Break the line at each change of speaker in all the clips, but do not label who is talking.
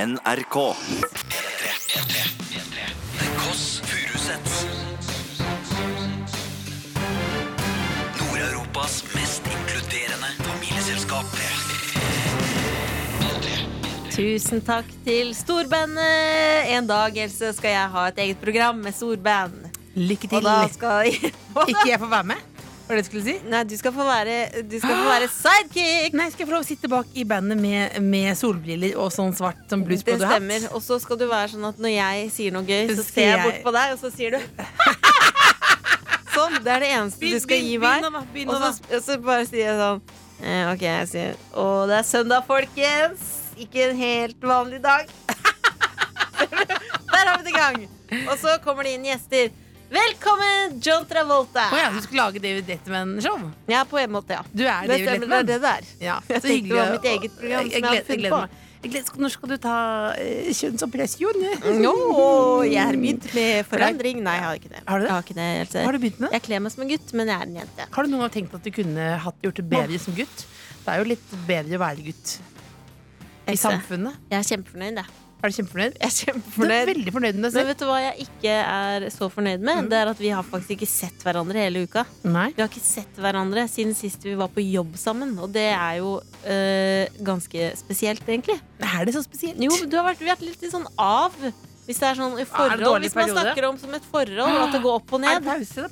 NRK.
The Kåss Furuseths. Nord-Europas mest inkluderende familieselskap.
Tusen takk til storbandet. En dag Else, skal jeg ha et eget program med storband.
Lykke
Og
til.
da skal
Ikke jeg får være med? Var det det du skulle si?
Nei, du skal få være, du skal få være sidekick.
Nei, skal jeg få lov å sitte bak i bandet med, med solbriller og sånn svart som blues
Det
på du hatt?
stemmer. Og så skal du være sånn at når jeg sier noe gøy,
Så
så
sier
ser jeg bort
jeg-
på deg, og så sier du Sånn. Det er det eneste du skal gi meg. Og så, og så bare sier jeg sånn eh, OK, jeg sier Å, det er søndag, folkens. Ikke en helt vanlig dag. Der har vi det i gang. Og så kommer det inn gjester. Velkommen, John Travolta.
Å ja, du skulle lage David Letterman-show?
Ja, på en måte, ja.
Du er
det
David
stemmer, det er
Letterman?
det der.
Ja,
Jeg
så
tenkte
hyggelig.
det var mitt eget program
Jeg, jeg,
som jeg
gled- jeg
hadde funnet
gleder
på.
meg. Jeg gleder, når skal du ta eh, kjønnsoperasjon?
Nå, jeg har begynt med forandring. Nei, jeg har ikke det.
Har du det?
Jeg har ikke det Else.
Har du begynt med det?
Jeg kler meg som en gutt, men jeg er en jente.
Har du noen gang tenkt at du kunne hatt, gjort det bedre som gutt? Det er jo litt bedre å være gutt i
Else.
samfunnet.
Jeg er kjempefornøyd, jeg.
Er du kjempefornøyd?
Jeg er
Du er
kjempefornøyd.
veldig fornøyd med deg
Men
selv.
vet du hva jeg ikke er så fornøyd
Mm.
med? Det er at vi har faktisk ikke sett hverandre hele uka.
Nei.
Vi har ikke sett hverandre siden sist vi var på jobb sammen, og det er jo øh, ganske spesielt, egentlig.
Er det så spesielt?
Jo, du har vært, vi har vært litt sånn av. Hvis det er sånn i
det
forhold,
dårlig
hvis man
periode?
snakker om som et forhold, at det går opp og
Er det
ned.
pause? da?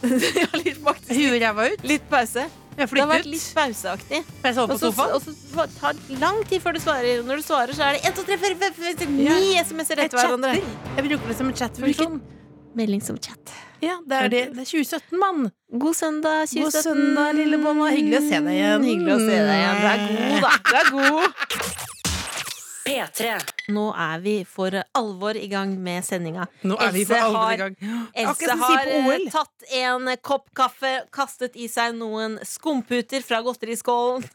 Pause?
Ja, litt faktisk.
Huet ræva ut?
Litt pause.
Jeg har
Det har vært
flyttet
litt
ut?
pauseaktig.
Jeg sover
Og
på
så
sofaen?
og så tar det lang tid før du svarer. Når du svarer, så er det 1, 2, 3, 4, 5, 6, 9 SMS-er
Jeg
etter hverandre.
chatter. Jeg bruker det som en chatfunksjon.
Melding som chat.
Ja, det er det. Det er 2017, mann.
God søndag, 2017.
God søndag, lille mamma. Hyggelig å se deg igjen.
Hyggelig å se deg igjen. Du er god, da. Du er god.
P3.
Nå er vi for alvor i gang med sendinga.
Nå er vi
Else
for alvor
har-
i gang.
Else
Akkurat som
har
sier på
eh,
OL.
tatt en kopp kaffe, kastet i seg noen skumputer fra godteriskålen,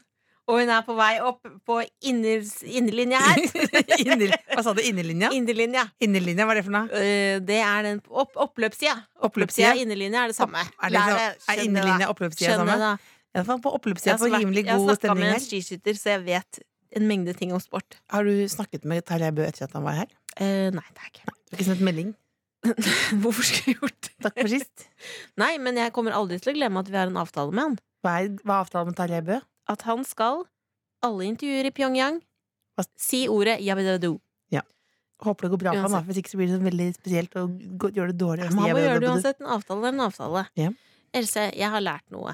og hun er på vei opp på inner, innerlinja her.
Inner, hva sa du? Innerlinja?
Innerlinja.
Innerlinja, hva er det for noe?
Eh, Det er den opp, oppløpssida. Oppløpssida
Oppløpssida?
og innerlinja er det samme.
Er det liksom-
Der
er innerlinja og oppløpssida
Skjønner
samme?
det.
I hvert fall på
Jeg
oppløpssida
har
på
vært-
rimelig
jeg har
god
snakka
stemning
med en
her.
skiskytter, så jeg vet en mengde ting om sport.
Har du snakket med Tarjei Bø etter at han var her?
Eh, nei, det er ikke
Du har ikke sendt melding?
Hvorfor skulle jeg gjort det?
Takk for sist.
Nei, men jeg kommer aldri til å glemme at vi har en avtale med han.
Hva er, hva er avtalen med Tarjei Bø?
At han skal, alle intervjuer i Pyongyang,
Hva-
si ordet yabidadu.
Håper det går bra for ham, da,
Uansett.
hvis ikke så blir det sånn veldig spesielt å gå- gjøre det dårlig. å si
Man
jeg
må
vil-
gjøre det uansett. En avtale er en avtale.
Ja.
Else, jeg har lært noe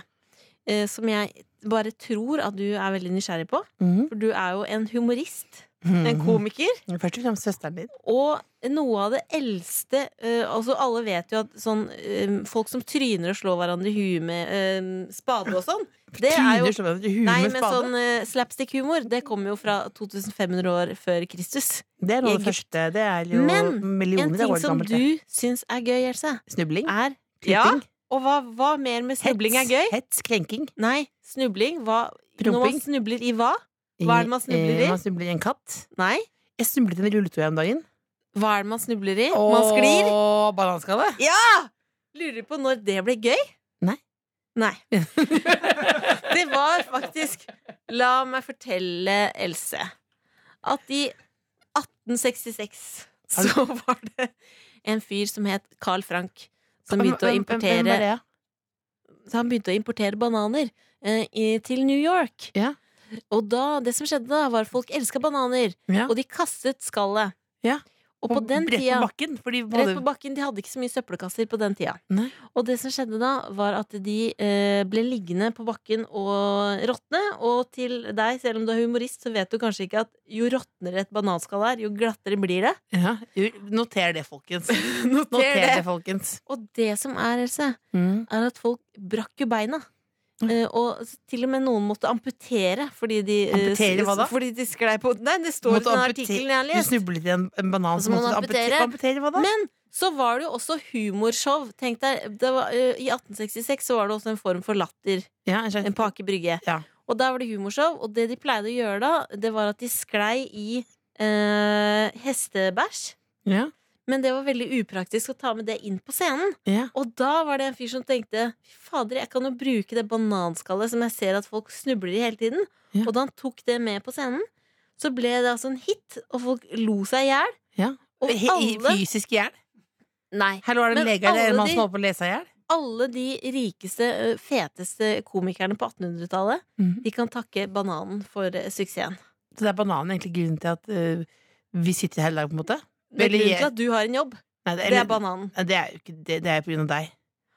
eh, som jeg bare tror at du er veldig nysgjerrig på.
Mhm.
For du er jo en humorist, en
Mhm.
komiker,
Først og fremst søsteren din.
og noe av det eldste eh, Altså, alle vet jo at sånn eh, Folk som tryner og slår hverandre i huet med eh, spade og sånn, det er jo
Tryner slår hverandre i huet
Nei,
med
men
spade.
sånn eh, slapstick-humor, det kommer jo fra 2500 år før Kristus.
Det er noe av
Egypt.
det første. Det er jo
Men, En
millioner av
ting
år
som
gammelt. det.
du syns er gøy, Else,
Snubling.
er
Klipping.
Og hva, hva mer med snubling er gøy?
Hets, hets, krenking.
Nei, snubling hva, Når man
Promping.
snubler i hva? Hva er det man snubler i?
Eh, Man snubler i en katt.
Nei,
Jeg snublet i en rulletøy om dagen.
hva er det man snubler i? Man sklir
Og bananskade.
Ja! Lurer på når det ble gøy?
Nei.
Nei. det var faktisk La meg fortelle Else at i 1866 så var det en fyr som het Carl Frank, som begynte å
Hvem- hvem- hvem var
importere
det?
Så han begynte å importere bananer eh, i, til New York.
Ja.
Og da, det som skjedde da, var at folk elska bananer,
Ja.
og de kastet skallet.
Ja.
Og på den
rett
tida
på bakken. Fordi man
Rett på
hadde,
bakken, De hadde ikke så mye søppelkasser på den tida.
Nei.
Og det som skjedde da, var at de eh, ble liggende på bakken og råtne. Og til deg, selv om du er humorist, så vet du kanskje ikke at jo råtnere et bananskall er, jo glattere blir det.
ja. Jo, Noter det, folkens. Noter,
det.
det. folkens.
Og det som er, Else,
Mm.
er at folk brakk jo beina. Eh, og s- til og med noen måtte amputere fordi de eh,
Amputere hva da?
s- Fordi de sklei på Nei, det står i
Måtte
den
amputer-
artikkelen jeg har
Du
lest.
snublet i en, en banan
Og så
som
må man
måtte
amputere.
amputere. amputere hva da?
Men så var det jo også humorshow. Tenk deg, det var, eh, I 1866 så var det også en form for latter.
ja, en slags,
En på Aker Brygge.
Ja.
Og der var det humorshow, og det de pleide å gjøre da, det var at de sklei i eh, hestebæsj.
ja,
Men det var veldig upraktisk å ta med det inn på scenen.
ja.
Og da var det en fyr som tenkte Fy fader, jeg kan jo bruke det bananskallet som jeg ser at folk snubler i hele tiden.
Ja.
Og da han tok det med på scenen, så ble det altså en hit, og folk lo seg i hjel.
Ja.
Og
I- i
alle
Fysisk i hjel?
Nei.
Hallo, er det en
Men
lege eller
alle
en mann
de-
som holder på å lese seg i hjel?
Alle de rikeste, ø, feteste komikerne på 1800-tallet,
Mhm.
de kan takke bananen for eh, ø, suksessen.
Så det er bananen egentlig grunnen til at eh, vi sitter her i dag, på en måte?
Det er
Eller-
grunnen til at du har en jobb.
Nei, det,
Det er bananen.
Nei, det er jo ikke det. Det er jo på grunn av deg.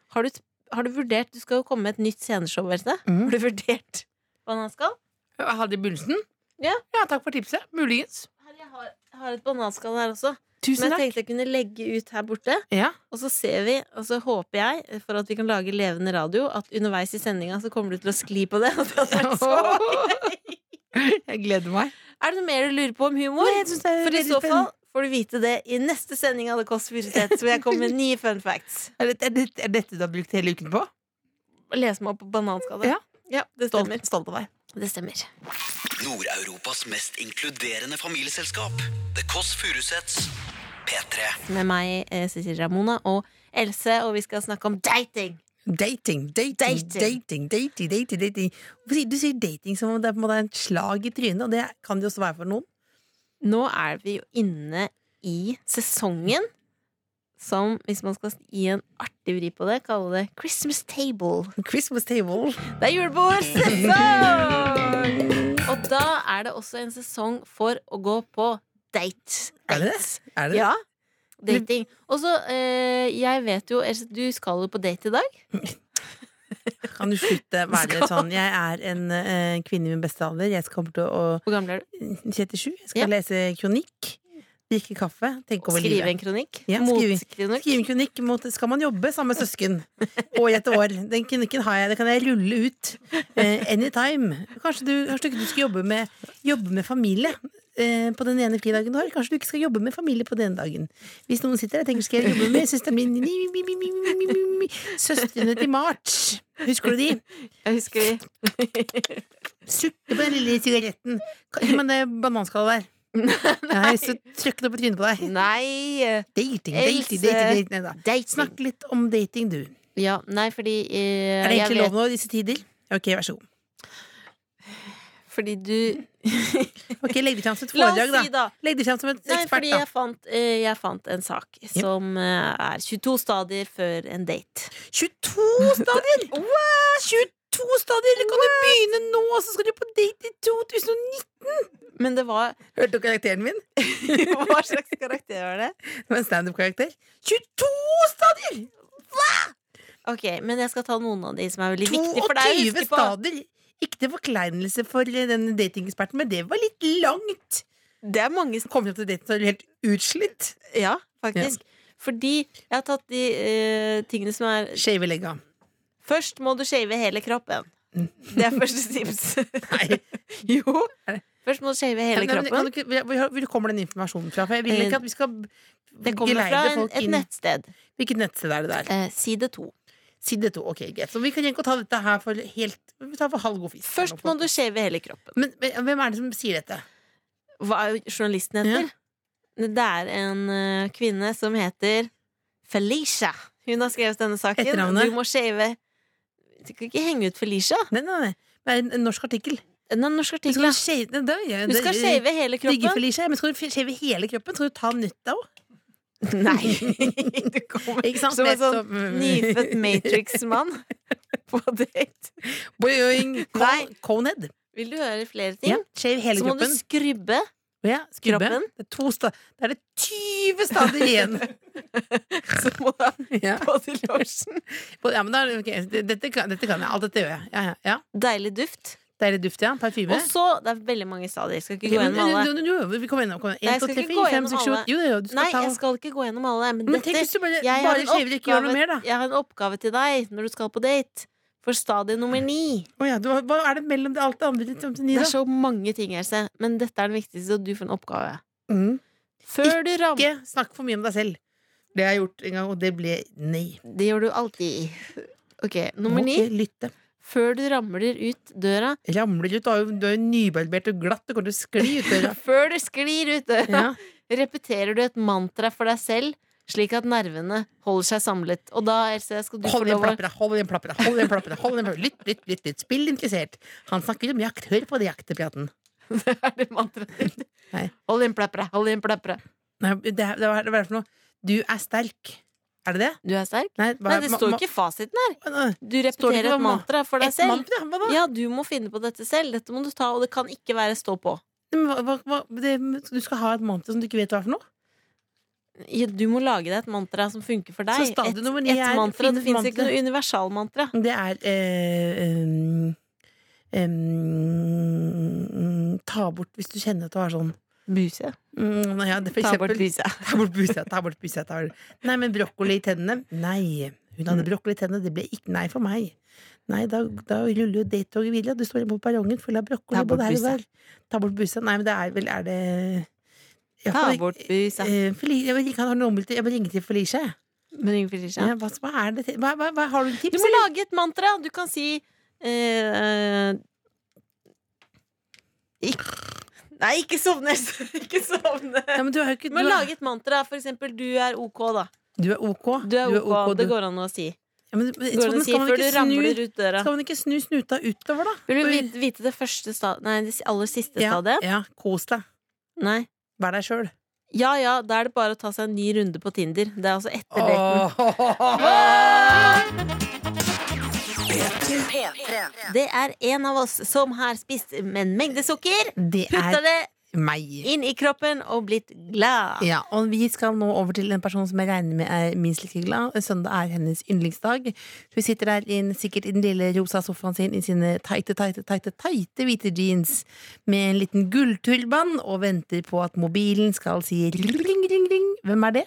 Har du, har du vurdert Du skal jo komme med et nytt sceneshow, Else.
Mm.
Har du vurdert bananskall?
Hadde Bullensen?
Ja.
ja, takk for tipset. Muligens.
Her, jeg har, jeg har et bananskall her også.
Tusen
Som jeg
takk.
tenkte jeg kunne legge ut her borte.
Ja.
Og så ser vi, og så håper jeg, for at vi kan lage levende radio, at underveis i sendinga så kommer du til å skli på det. og det hadde vært så gøy.
Jeg gleder meg.
Er det noe mer du lurer på om humor?
Nei, jeg synes det er
For i
veldig
så fall får du vite det i neste sending av The Kåss Furuseth, hvor jeg kommer med nye fun facts.
Er, det, er, det, er dette du har brukt hele uken på?
Les meg opp på bananskadet.
Ja.
det stemmer.
stolt av deg.
Det stemmer.
Nord-Europas mest inkluderende familieselskap. The Kåss Furuseths. P3.
Med meg, eh, Cecilie Ramona, og Else, og vi skal snakke om dating.
Dating, dating, dating,
Dating.
dating, dating, dating. Hvorfor sier- Du sier dating som om det er på en måte en slag i trynet, og det kan det jo også være for noen.
Nå er vi jo inne i sesongen som, hvis man skal gi en artig vri på det, kalle det Christmas table.
Christmas table.
Det er julebordsesong! Og da er det også en sesong for å gå på date.
Er det det? Er det?
Ja. Dating. Og så, eh, jeg vet jo Else, Du skal jo på date i dag.
Kan du slutte å være
Skal-
sånn? Jeg er en eh, kvinne i min beste alder. Jeg skal kommer til å
Hvor gammel er du?
37. Jeg
Ja.
skal lese kronikk, drikke kaffe, tenke over
Skrive
livet.
en kronikk?
Ja, skrive-
Motkronikk?
Skrive en kronikk mot Skal man jobbe sammen med søsken? År etter år. Den kronikken har jeg, det kan jeg rulle ut. Eh, anytime. Kanskje du, kanskje du ikke skal jobbe med, jobbe med familie eh, på den ene fridagen du har. Kanskje du ikke skal jobbe med familie på den ene dagen. Hvis noen sitter der og tenker skal jeg jobbe med søsteren min mi, mi, mi, mi, mi, mi, mi, mi. Søstrene til March. Husker du de?
Jeg husker vi
Sutte på den lille sigaretten. Ka- Gi meg det bananskallet der. Jeg har lyst til å trykke det på trynet på deg.
Nei! eh,
Dating, dating, dating. dating. Nei da.
Dating.
Snakk litt om dating, du.
Ja, nei, fordi eh,
Er det
jeg
egentlig
vet-
lov nå i disse tider? Ok, vær så god.
Fordi du
Ok, Legg det fram som et
La oss
foredrag,
si,
da.
da.
Legg det fram som et
Nei,
ekspert,
fordi
da.
jeg fant, eh, jeg fant en sak som eh, er 22 stadier før en date.
22 stadier! 22 stadier! Du kan jo begynne nå, og så skal du på date i 2019!
Men det var
Hørte du karakteren min?
Hva slags karakter var det?
Det var en standup-karakter. 22 stadier!
Ok, Men jeg skal ta noen av de som er veldig viktige for deg. å
22
huske på.
stadier! Ikke til forkleinelse for eh, den datingeksperten, men det var litt langt.
Det er mange
Kom hjem til daten så er du helt utslitt.
Ja, faktisk. Fordi jeg har tatt de eh, tingene som er
Shave legga.
Først må du shave hele kroppen. Det er første tips.
Nei.
jo. Først må du shave hele
Nei, men
kroppen.
kan du ikke- Hvor hvor kommer den informasjonen fra? For jeg vil
Eh,
ikke at vi skal
Det kommer
geleide
fra en,
folk
et
inn.
nettsted.
Hvilket nettsted er det der?
Eh, side to.
Side to. Ok, greit. Så vi kan ikke ta dette her for helt Vi tar for halv god fisk.
Først må du shave hele kroppen.
men, men hvem er det som sier dette?
Hva er jo journalisten heter? Det er en eh, kvinne som heter Felicia. Hun har skrevet denne saken.
Etternavnet?
Du må shave Du kan ikke henge ut Felicia.
Nei, nei, nei. Det er en, en norsk artikkel.
Den er en norsk
Du
artikkel.
skal shave, det, det, det,
Du skal shave hele
Digger
kroppen.
Felicia, men skal du shave hele kroppen? Skal du ta nøtta òg?
Nei! Du kommer
Ikke sant?
som en sånn
Nettopp.
nyfødt Matrix-mann på date.
Boing! Cone-
Nei.
Conehead.
Vil du høre flere ting,
Ja. Shave hele
så må du
kroppen.
skrubbe.
Ja, skrubbe.
kroppen.
Det er to sta da er det 20 stader igjen!
Så må du ha
ja.
bodylotion.
ja, men da, er det- ok, dette, kan, dette kan jeg. Alt dette gjør jeg. Ja, ja, ja.
Deilig duft.
Deilig duft, ja. Parfyme.
Og så Det er veldig mange stadier. Skal ikke
Ok,
gå
men-
gjennom alle.
jo, jo, jo, vi kommer innom. Kom igjen.
Nei,
En,
jeg
to,
skal
tre,
ikke
fire,
gå
fem,
gjennom
seks, sju
alle.
Jo, jo, du skal
Nei,
ta
jeg skal ikke gå gjennom alle. Men,
Men
dette,
tenk hvis du bare,
jeg, har
bare
en
skjever ikke gjør noe
oppgave-
mer, da.
jeg har en oppgave til deg når du skal på date. For stadie nummer ni.
Å ja, du, har- hva er det mellom det, alt det andre ditt om til ni,
Det
da?
er så mange ting, Else, men dette er den viktigste, og du får en oppgave.
Mm.
Før du rammer
Ikke snakk for mye om deg selv. Det har jeg gjort en gang, og det ble nei.
Det gjør du alltid. Ok, nummer
Må
ni.
ikke lytte.
Før du ramler ut døra
Ramler ut, du er jo, du er jo nybarbert og glatt, du kommer til å skli ut døra.
Før du sklir ut døra,
Ja.
repeterer du et mantra for deg selv, slik at nervene holder seg samlet. Og da, Else, skal du få
Hold igjen
lov å
plappene, hold igjen plappene, hold igjen plappene. Hold igjen plappene. Lytt, lytt, lytt, lytt. Spill interessert. Han snakker om jakt, hør på det jaktepraten.
Det er det mantraet ditt.
Nei.
Hold inn pleppere, hold inn pleppere.
Nei, det, det, var- det var for noe Du er sterk. Er det det?
Du er sterk?
Nei,
Nei, det står ikke fasiten her. Du
det
repeterer
ikke hva
et
ma-
mantra for deg
Et
selv.
mantra? Hva da?
Ja, du må finne på dette selv. Dette må du ta, og det kan ikke være stå på.
Men hva, hva, hva, det, du skal ha et mantra som du ikke vet hva er for noe?
Ja, Du må lage deg et mantra som funker for deg.
Så stadium
Et-
nummer ni
et
er
mantra,
finn
Det
et
fins ikke
mantra.
noe universalmantra.
Det er eh, em, em, Ta bort hvis du kjenner at du har sånn
Buse.
mm, nei, ja, det, for
Ta bort
eksempel,
buse.
Ta bort busa, ta bort busa ta bort. Nei, men brokkoli i tennene? Nei. Hun
Mm.
hadde brokkoli i tennene, det ble ikke nei for meg. Nei, da, da ruller jo det toget videre, og du står på perrongen full av brokkoli
Ta bort
både her og
busa.
der. Ta bort busa. Nei, men det er vel Er det Jeg
Ta
får-
bort buse.
eh, Feli- Jeg vil ikke ha noe ombytte. Jeg vil ringe til Felicia. jeg.
Men ingen bryr seg.
Ja, hva, hva er det til? Hva, hva, hva, har du tips?
Du må lage et mantra. Du kan si eh, ikke, Nei, ikke sovne! Else. ikke sovne!
Ja, men du har jo ikke
Du må
du har-
lage et mantra. For eksempel 'du er ok', da.
Du er ok.
Du er ok,
du.
Det går an å si.
Ja, men, men,
Går an
sånn
å si
skal, man
før du
ikke
ramler
snu,
ut døra.
skal man ikke snu snuta utover, da?
Vil du vite, vite det første sta Nei, det aller siste
ja,
stadiet?
ja, kos deg.
Nei.
Vær deg sjøl.
Ja ja, da er det bare å ta seg en ny runde på Tinder. Det er altså etter daten.
P3.
Det er en av oss som har spist med en mengde sukker,
Det
putta
er
det
meg.
inn i kroppen og blitt glad.
Ja, og vi skal nå over til en person som jeg regner med er minst like glad. Søndag er hennes yndlingsdag. Hun sitter der inn, sikkert i den lille rosa sofaen sin i sine teite, teite, teite, teite hvite jeans med en liten gullturban og venter på at mobilen skal si ring, ring, ring. ring. Hvem er det?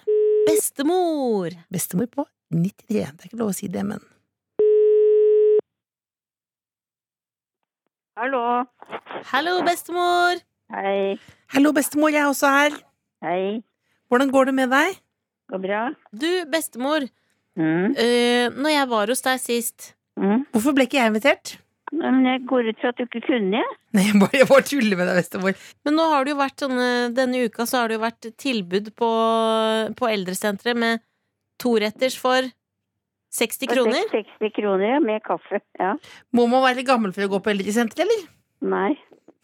Bestemor!
Bestemor på 93. Det er ikke lov å si det, men
Hallo.
Hallo, bestemor!
Hei.
Hallo, bestemor, jeg er også her.
Hei.
Hvordan går det med deg?
Går det bra?
Du, bestemor,
Mm.
øh, når jeg var hos deg sist
Mm.
Hvorfor ble ikke jeg invitert?
Nei, Men jeg går ut fra at du ikke kunne.
Nei, jeg bare, jeg bare tuller med deg, bestemor.
Men nå har det jo vært sånne Denne uka så har det jo vært tilbud på, på eldresenteret med toretters for 60 kroner.
60 kroner ja, med kaffe. Ja.
Må man være litt gammel for å gå på eldresenter, eller?
Nei.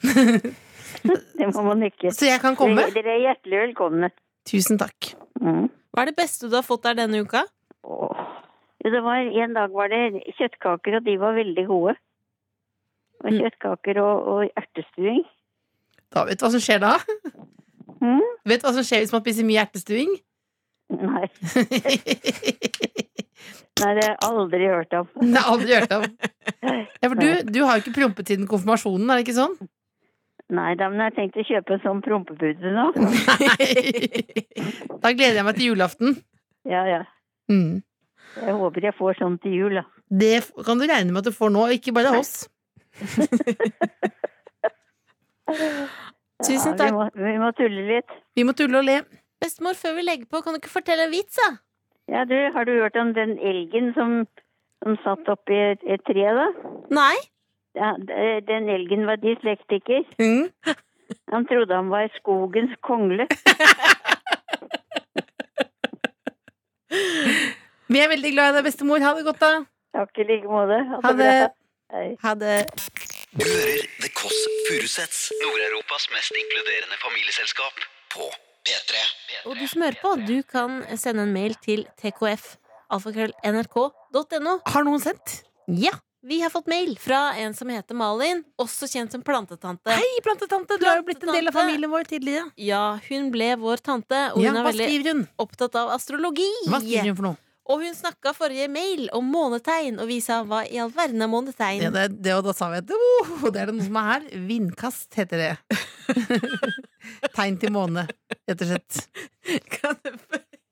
det må man ikke.
Så jeg kan komme?
Dere, dere er hjertelig velkomne.
Tusen takk.
Mm.
Hva er det beste du har fått der denne uka?
Åh. Jo, det var, en dag var det kjøttkaker, og de var veldig gode. Og
Mm.
kjøttkaker og, og ertestuing.
Da vet du hva som skjer da?
Mm.
Vet du hva som skjer hvis man spiser mye ertestuing?
Nei.
det
Nei, det har jeg aldri hørt om.
har jeg aldri hørt om. Ja, for du, du har jo ikke prompet siden konfirmasjonen, er det ikke sånn?
Nei, da, men jeg tenkte å kjøpe en sånn prompepute nå.
Da gleder jeg meg til julaften.
Ja, ja.
Mm.
Jeg håper jeg får sånn til jul, da.
Det f- kan du regne med at du får nå, ikke bare av oss.
Tusen
Ja, vi
takk.
må, vi må tulle litt.
Vi må tulle og le.
Bestemor, før vi legger på, kan du ikke fortelle en vits, da?
Ja, du, har du hørt om den elgen som, som satt oppi et, et tre, da?
Nei?
Ja, d- den elgen var dyslektiker.
Mm.
Han trodde han var skogens kongle.
Vi er veldig glad i deg, bestemor. Ha det godt, da.
Takk i like måte. Ha det
Ha det.
bra. Hei.
Ha det.
Du hører The Kåss Furuseths, Nord-Europas mest inkluderende familieselskap, på P3.
Og du som hører på, du kan sende en mail til tkf. alfakrøll.nrk.no.
Har noen sendt?
Ja, vi har fått mail fra en som heter Malin, også kjent som plantetante.
Hei, plantetante! Du har jo blitt en del av
Plantetante.
familien vår tidligere.
Ja, hun ble vår tante, og hun
Ja,
er
hva
veldig
skriver hun?
opptatt av astrologi.
Hva skriver hun for noe?
Og hun snakka forrige mail om månetegn, og vi sa hva i all verden er månetegn?
Ja, det, det, og da sa vi at oh, det er det noe som er her. Vindkast heter det. Tegn til måne, rett og slett.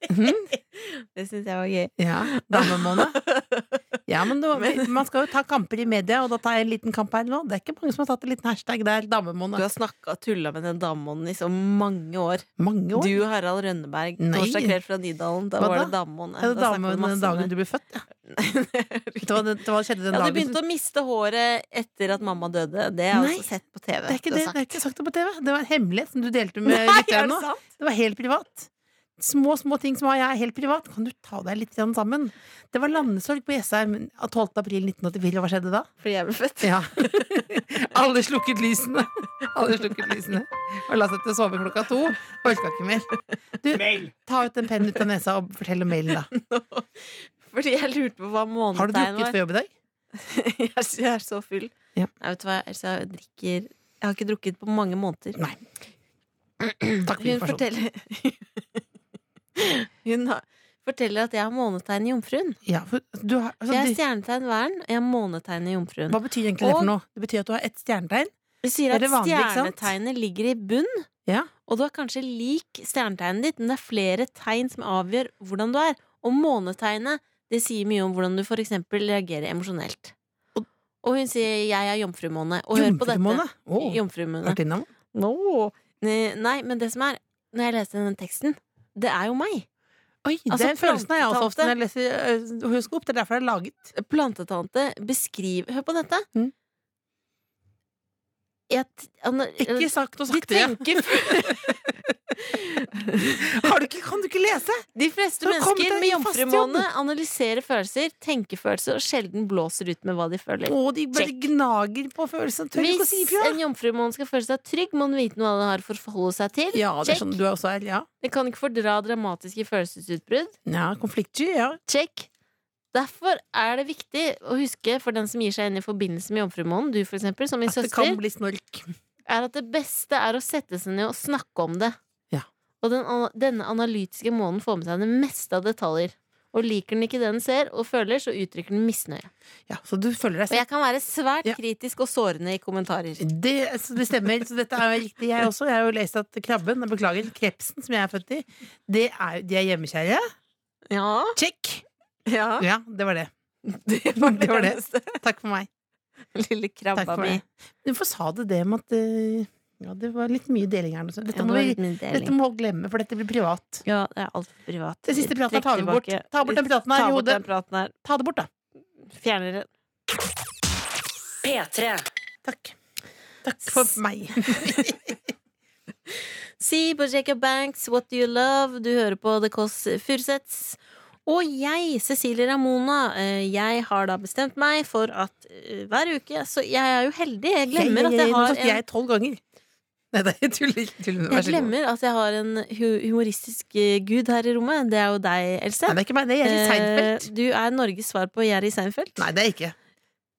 Mhm.
Det syns jeg var gøy.
Ja, Damemåne. Ja, men nå- man skal jo ta kamper i media, og da tar jeg en liten kamp her nå. Det er ikke mange som har tatt en liten hashtag der.
Du
Damemåne.
har snakka og tulla med den damemånen i så mange år.
Mange år.
Du og Harald Rønneberg,
Nei.
torsdag kveld fra Nydalen. Da
Hva
var det
da?
damemåne.
Er det
Da snakket
dame
vi masse
den
om
dagen
det.
du ble født? Ja. Vet du hva, det, det var- skjedde den
Ja, du
dagen.
begynte å miste håret etter at mamma dødde. Det har jeg
Nei,
også sett på TV.
Det er ikke
Du har
det, det
sagt.
er ikke sagt det på TV. Det var en hemmelighet som du delte med
Nei, er
lytterne
det
nå.
sant?
Det var helt privat. Små små ting som jeg er helt privat. Kan du ta deg litt grann sammen? Det var landesorg på Jessheim av 12. april 1984. Hva skjedde da?
fordi jeg ble født.
Ja. Alle slukket lysene. Alle slukket lysene. Og la seg til å sove klokka to. Orka ikke mer. Du,
Mail!
ta ut en penn ut av nesa og fortell om mailen, da.
Fordi jeg lurte på hva
Har du
månetegn
drukket
var.
før jobb i dag?
Jeg er- jeg er så full.
Ja.
Nei, vet du hva, Elsa, jeg drikker Jeg har ikke drukket på mange måneder.
Nei. Takk for
Hun
informasjonen.
forteller Hun har, forteller at jeg har månetegn i Jomfruen.
Ja, for du har, altså,
Jeg er
du-
stjernetegn Væren, og jeg har månetegn i Jomfruen.
hva betyr egentlig det
Og-
for noe? Det betyr at du har ett stjernetegn?
Vi sier
Er
at
det vanlig, ikke sant?
stjernetegnet ligger i bunn,
Ja.
og du er kanskje lik stjernetegnet ditt, men det er flere tegn som avgjør hvordan du er. Og månetegnet det sier mye om hvordan du for eksempel reagerer emosjonelt.
Og-
Og hun sier 'jeg er jomfrumåne'. Og hør på dette.
Jomfrumåne? Å,
Jomfrumåne.
vært innom.
No. Ne- Nei, men det som er Når jeg leste den teksten, det er jo meg.
Oi,
Altså,
den følelsen har jeg også ofte
plantetante.
når jeg leser øh, horoskop. Det er derfor det er laget.
Plantetante beskriver Hør på dette.
Mm.
Jeg t- han-
Ikke sagt
de
og sagt det.
tenker
Har du ikke, kan du ikke lese?
De fleste
Så kom
mennesker
deg
med
i fast
jomfrumåne analyserer følelser, tenker følelser og sjelden blåser ut med hva de føler.
Å, de bare
Check.
gnager på følelsen. Tør ikke å
Hvis
si ifra.
en jomfrumåne skal føle seg trygg, må den vite noe den har for å forholde seg til.
Ja, det er
Check.
sånn du er også er. Ja.
Den kan ikke fordra dramatiske følelsesutbrudd.
ja konfliktsky, ja.
Check. Derfor er det viktig å huske for den som gir seg inn i forbindelse med jomfrumånen, du for eksempel, som min
At det
søster,
kan bli snork.
er at det beste er å sette seg ned og snakke om det.
Ja.
Og den, ana- denne analytiske månen får med seg det meste av detaljer. Og liker den ikke det den ser og føler, så uttrykker den misnøye.
Ja, så du føler deg
Og jeg kan være svært
Ja.
kritisk og sårende i kommentarer.
det, så det stemmer. Så dette er jo riktig, jeg også. Jeg har jo lest at krabben, nei, beklager, krepsen, som jeg er født i, det er, jo- de er hjemmekjære.
Ja,
Check!
ja.
Ja, det var det.
Det var det,
Det var det.
eneste.
Takk for meg.
Lille
Takk
krabba
for
mi.
meg. Hvorfor sa du det med at eh, Ja, det var litt mye deling her. nå, så Dette
Ja, det
må
var
vi
litt min
dette
deling.
må folk glemme, for dette blir privat.
Ja, det er alt privat.
Det siste praten her
Trekk
tar vi bort.
tilbake.
Ta bort den praten her i
Ta bort
hodet.
den praten her.
Ta det bort, da.
Fjerner den.
P3.
Takk. Takk for meg.
Si på Jacob Banks, What Do You Love? Du hører på The Kåss Furuseths. Og jeg, Cecilie Ramona, eh, jeg har da bestemt meg for at eh, hver uke Så jeg er jo heldig. Jeg glemmer at jeg
Nå
har
sagt
en
jeg tolv ganger. Nei, det er tuller. tuller. Vær
jeg
så god. Nei,
glemmer at jeg har en hu- humoristisk eh, gud her i rommet. Det er jo deg, Else.
det er ikke meg. Det er Jerry Seinfeld.
Eh, Du er Norges svar på Jerry Seinfeld.
Nei, det er ikke.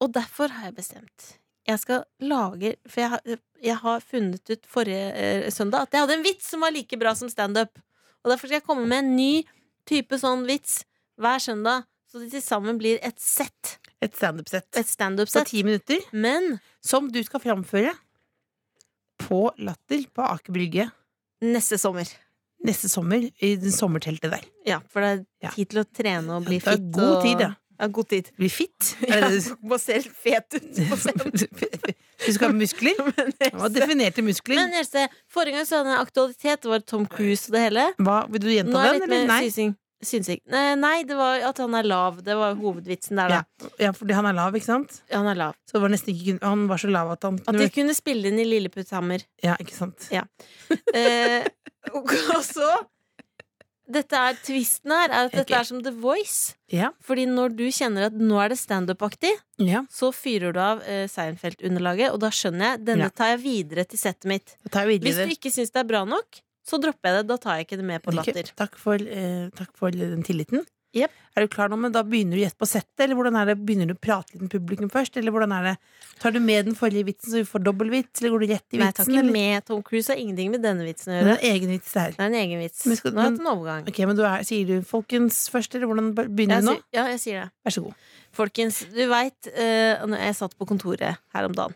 Og derfor har jeg bestemt. Jeg skal lage For jeg, har- jeg har funnet ut forrige eh, søndag at jeg hadde en vits som var like bra som standup. Og derfor skal jeg komme med en ny type sånn vits hver søndag, så det til sammen blir et sett.
Et standup-sett.
Et
På
standup-sett.
ti minutter.
Men
Som du skal framføre på Latter på Aker Brygge
neste sommer.
neste sommer. I den sommerteltet der.
Ja, for det
Ja.
er tid til å trene og bli
Det er
fit.
god
og-
tid, ja.
ja. God tid.
Bli fit.
Ja,
Er det-
må se fet ut på scenen.
Du skal ha muskler? Hva definerte
Men
muskler?
Else, forrige gang så hadde jeg aktualitet, det var Tom Cruise og det hele.
Hva, vil du
Nå
gjenta
er
den,
det
eller
litt mer
nei?
synsing. synsing. Nei, nei, det var at han er lav. Det var hovedvitsen der,
Ja.
da.
ja, fordi han er lav, ikke sant?
Han er lav.
Så det var nesten ikke, kun- han var så lav at han
At de kunne spille inn i Lilleputthammer.
Ja, ikke sant?
Eh, og og så Dette er tvisten her, er at dette
Ok.
er som The Voice.
Ja.
Fordi når du kjenner at nå er det standup-aktig,
ja.
så fyrer du av eh, Seinfeld-underlaget, og da skjønner jeg. Denne
Ja.
tar jeg videre til settet mitt.
Da tar jeg
Hvis
videre.
du ikke syns det er bra nok, så dropper jeg det. Da tar jeg ikke det med på
Ikke-
latter.
Takk for, eh, takk for den tilliten.
Jep.
Er du klar nå, men da begynner du å gjette på settet? Eller hvordan er det, begynner du å prate litt med publikum først? Eller hvordan er det, tar du med den forrige vitsen så vi får dobbel vits? Eller går du rett i vitsen?
Nei, jeg tar ikke
eller?
med Tom Cruise. Har ingenting med denne vitsen å
Men
gjøre.
Det er en egen vits det her.
Det er en egen vits.
Men skal-
Nå har jeg hatt
men-
en overgang.
Ok, men du er, sier du folkens først, eller hvordan begynner
Jeg
du nå?
sier, ja, jeg sier det.
Vær så god.
Folkens, du veit Jeg satt på kontoret her om dagen.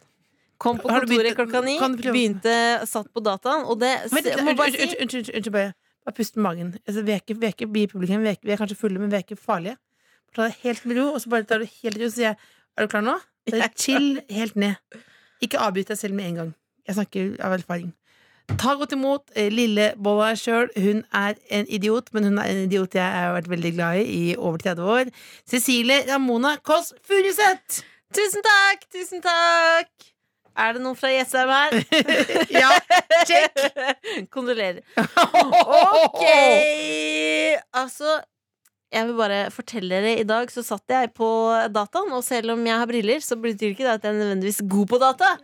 Kom på
Har du
kontoret
begynt-
klokka ni,
kan du prøve-
begynte, satt på dataen, og det
Vent,
jeg må
Unnskyld,
bare si,
unnskyld, unnspublikum. Unnskyld, bare- bare pust med magen. Altså, vi, er ikke, vi, er ikke, vi i publikum, vi er, ikke, vi er kanskje fulle, men vi er ikke farlige. Ta det helt med ro, og så bare tar du helt ro, så sier jeg Er du klar nå? Bare chill helt ned. Ikke avbryt deg selv med en gang. Jeg snakker av erfaring. Ta godt imot eh, lille Bolla sjøl. Hun er en idiot, men hun er en idiot jeg har vært veldig glad i i over 30 år. Cecilie Ramona Kåss Furuseth!
Tusen takk! Tusen takk! Er det noen fra Jessheim her?
Ja, check!
Kondolerer. Ok! Altså, jeg vil bare fortelle dere I dag så satt jeg på dataen, og selv om jeg har briller, så betyr ikke det at jeg er nødvendigvis god på data.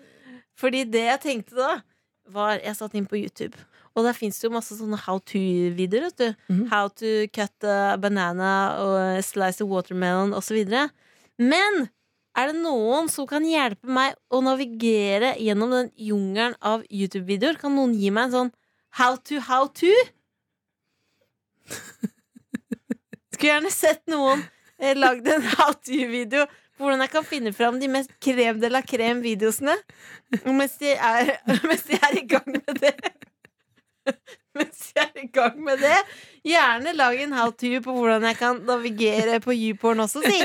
Fordi det jeg tenkte da, var Jeg satt inn på YouTube. Og der fins jo masse sånne how to-videoer. vet du
Mhm.
How to cut a banana og slice a watermelon osv. Men er det noen som kan hjelpe meg å navigere gjennom den jungelen av YouTube-videoer? Kan noen gi meg en sånn how to, how to? Skulle gjerne sett noen eh, lagd en how to-video på hvordan jeg kan finne fram de mest krem de la krem-videosene mens, de er- mens de er i gang med det. Mens jeg er i gang med det, gjerne lag en how to på hvordan jeg kan navigere på YouPorn også, si.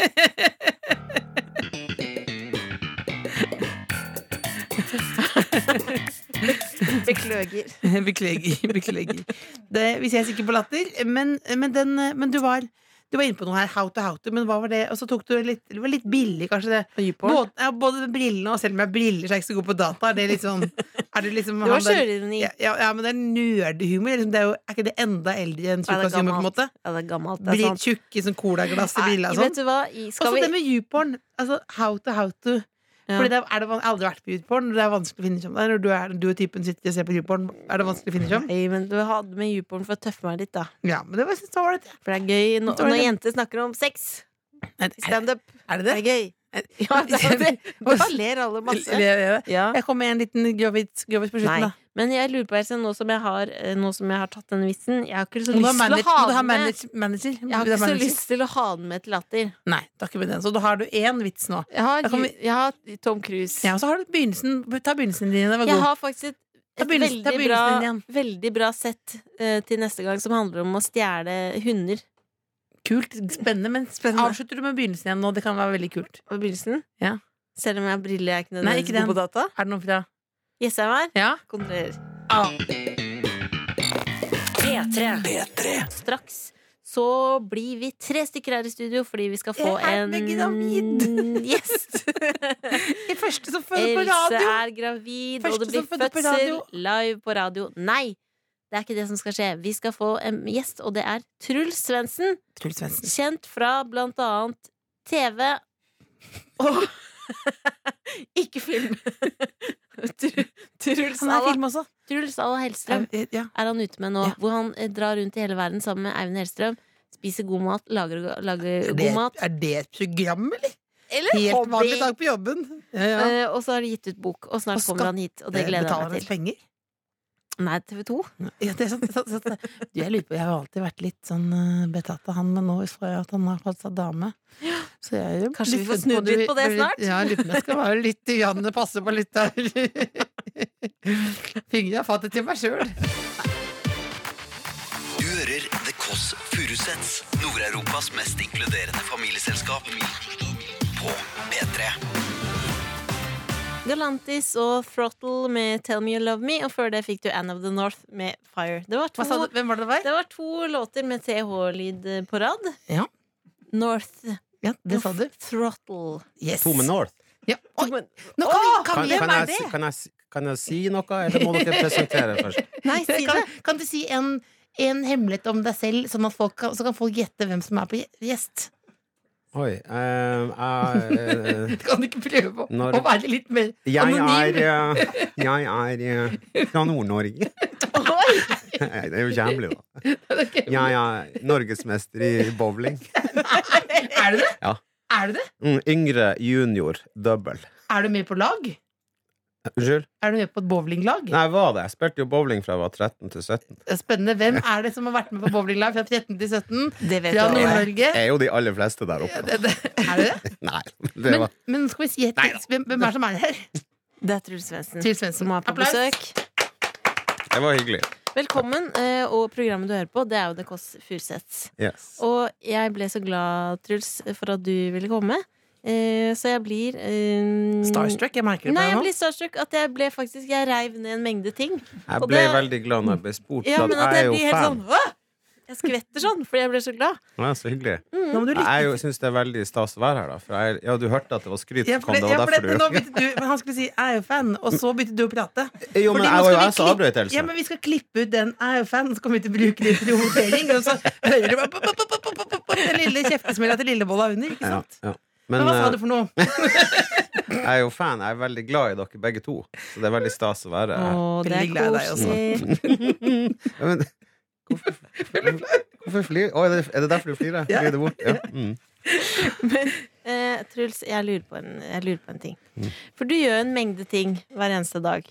Beklager.
Beklager. beklager. Det, hvis jeg er sikker på latter. Men, men, den, men du var Du var inne på noe her. How to how to. Men hva var det? Og så tok du litt Det var litt billig, kanskje? det
YouPorn.
Både, ja, både med brillene og selv om jeg har briller, så er jeg ikke så god på data. Er det litt sånn er det liksom
Det var
han der-
sjørøveri.
ja, ja, ja, men det er nerdehumor. Liksom. Det er, jo, er ikke det enda eldre enn
Ja, det er
tjukkashumor, på en måte?
Ja, det er gammelt. Det er
Blir
sant.
tjukke som colaglass i
Nei,
brilla og
vet
sånn.
du hva? I-
Og
Skal
så det
vi
med YouPorn. Altså how to how to.
Ja.
Fordi det er, er det, van- jeg har aldri vært på YouPorn, og det er vanskelig å finne som Når du er, du er typen sitter og ser på YouPorn, er det vanskelig å finne som?
Nei, men du hadde med YouPorn for å tøffe meg litt, da.
Ja, men det var, jeg synes det var ålreit. jeg.
For det er gøy når,
Dårlig.
når jenter snakker om sex.
Er,
Standup.
er
Det
det
er
det?
gøy. Ja, det er det. Da ler alle masse.
Jeg, jeg,
Ja.
jeg kom med en liten grovis grovis på
Nei.
slutten, da.
Men jeg lurer på, Else, nå som jeg har, eh, nå som jeg har tatt den vitsen Jeg har ikke så
Må du ha
lyst til å
manager?
ha
Må du ha
den med.
manager? manager?
Jeg har
Vil du
ikke
ha
så
manager?
lyst til å ha den med til latter.
Nei, det er ikke med den. Så da har du én vits nå.
Jeg har,
Da kan vi-
jeg har Tom Cruise.
Ja, og så har du begynnelsen. Ta begynnelsen din. Det var
Jeg
god.
har faktisk et,
Ta
et
begynnelsen- ta
veldig, bra,
begynnelsen din
veldig bra sett eh, til neste gang som handler om å stjele hunder.
Kult. Spennende, men
Spennende.
avslutter du med begynnelsen igjen nå? Det kan være veldig kult.
På begynnelsen.
Ja.
Selv om jeg har briller, jeg er ikke
Nei, ikke
nødvendigvis god på data.
Er det noe fra
Jessheim her.
Ja?
Kontrollerer.
P3.
P3.
straks så blir vi tre stykker her i studio fordi vi skal få
Jeg er
en
gravid.
gjest.
Det første som følger på
Else
radio!
er gravid, og
Første
det blir
som fødte på
fødsel
radio.
live på radio. Nei! Det er ikke det som skal skje. Vi skal få en gjest, og det er Truls Svendsen.
Truls Svendsen.
Kjent fra blant annet TV og Ikke film. Tru- Truls
Han er
Alla-
film også.
Truls Alla Hellstrøm
Er- Ja.
er han ute med nå.
Ja.
Hvor han eh, drar rundt i hele verden sammen med Eivind Hellstrøm. Spiser god mat, lager, lager
Er, det,
god mat.
er det et program, eller?
Eller
Helt vanlig
hobby!
dag på jobben. Ja, ja.
Eh, og så har de gitt ut bok, og snart
Og
kommer han hit. Og det gleder jeg
Betaler
meg
oss
til.
penger?
Nei, TV2.
Ja, det er sant, det er sant, det er sant. Du, jeg lurer på, jeg har alltid vært litt sånn eh, betatt av han, men nå så jeg at han har fått seg dame. Så jeg er jo
Kanskje vi
litt
får
spent
snudd litt på det
blir-
snart?
Ja, jeg lurer på om jeg skal være litt grann, passe på litt der. Fingrene har fattet til meg sjøl.
Du hører The Kåss Furuseths, Nord-Europas mest inkluderende familieselskap. På P3.
Galantis og Throttle med Tell Me You Love Me, og før det fikk du Anne of the North med Fire. Det var
Hva sa
to,
du? Hvem var det det var?
det var to låter med TH-lyd på rad.
Ja.
North.
Ja, det sa du.
Throttle.
Yes.
Tome North.
Ja. Oi,
Men-
nå kan vi, kan
Kan,
vi
kan,
er
jeg, si-
det?
kan, jeg, si- kan jeg si noe, eller må dere presentere først?
Nei, si
kan,
det!
kan du si en, en hemmelighet om deg selv, sånn at folk kan, så kan folk gjette hvem som er på gje- gjest?
Oi. eh, jeg, eh,
Kan du ikke prøve å,
Når-
å være litt mer
jeg
anonym?
er, eh, jeg er eh, fra Nord-Norge. Nei, Det er jo ikke hemmelig, da. Jeg er norgesmester i bowling.
Er du det?
Ja.
Er du det?
Mm, yngre junior double.
Er du med på lag?
Unnskyld?
Er du med på et bowlinglag?
Nei, jeg var det. Jeg spilte jo bowling fra jeg var 13 til 17.
Det er Spennende. Hvem er det som har vært med på bowlinglag fra 13 til 17?
Det vet du
Fra
alle.
Nord-Norge?
Jeg Eh, er jo de aller fleste der
Ja,
oppe.
det- det- Er det det?
Nei, det
Men,
var
men skal vi si et,
Neida.
hvem, hvem er det som er her?
Det er Truls Svendsen
Til Svendsen.
som er på
Applaus.
besøk.
Det var hyggelig.
Velkommen, eh, og programmet du hører på, det er jo The Kåss Furuseths.
Yes.
Og jeg ble så glad, Truls, for at du ville komme. Eh, Så jeg blir eh,
Starstruck, jeg merker det
Nei, jeg
på deg
blir starstruck at jeg ble faktisk Jeg reiv ned en mengde ting.
Jeg
og
ble
det-
veldig glad når jeg ble spurt,
Ja,
for
men at
at jeg
jeg
er jo
blir helt
fan.
sånn Hå! Jeg skvetter sånn fordi jeg ble så glad.
Ja, så hyggelig.
Mm.
Nå må du lytte.
Jeg syns det er veldig stas å være her, da. For jeg, ja, du hørte at det var skryt
Ja,
som
for
kom,
det,
det
ja,
var
for det, men nå
derfor du
byttet du men Han skulle si 'jeg er jo fan', og så byttet du å prate.
Eh, Jo, men
Fordi nå
jeg
skal
var jo
vi
jeg som
klippe-
avbrøt, Else.
Ja, men vi skal klippe ut den 'jeg er jo fan', så kommer vi til å bruke det til promotering. Og så hører du bare pop, pop, pop, pop, pop, pop, den lille kjeftesmella til lillebolla under. Ikke
Ja,
sant?
ja.
Men
Men
hva sa
eh,
du for noe?
jeg er jo fan. Jeg er veldig glad i dere begge to. Så det er veldig stas å være her.
Å, det er
Veldig glad i deg
koselig.
Ja, men, hvorfor hvorfor flirer Å, er, det- er det derfor du flirer? Flirer det bort? Ja. Mm.
Eh, Truls, jeg lurer, på en, jeg lurer på en ting.
Mm.
For du gjør en mengde ting hver eneste dag.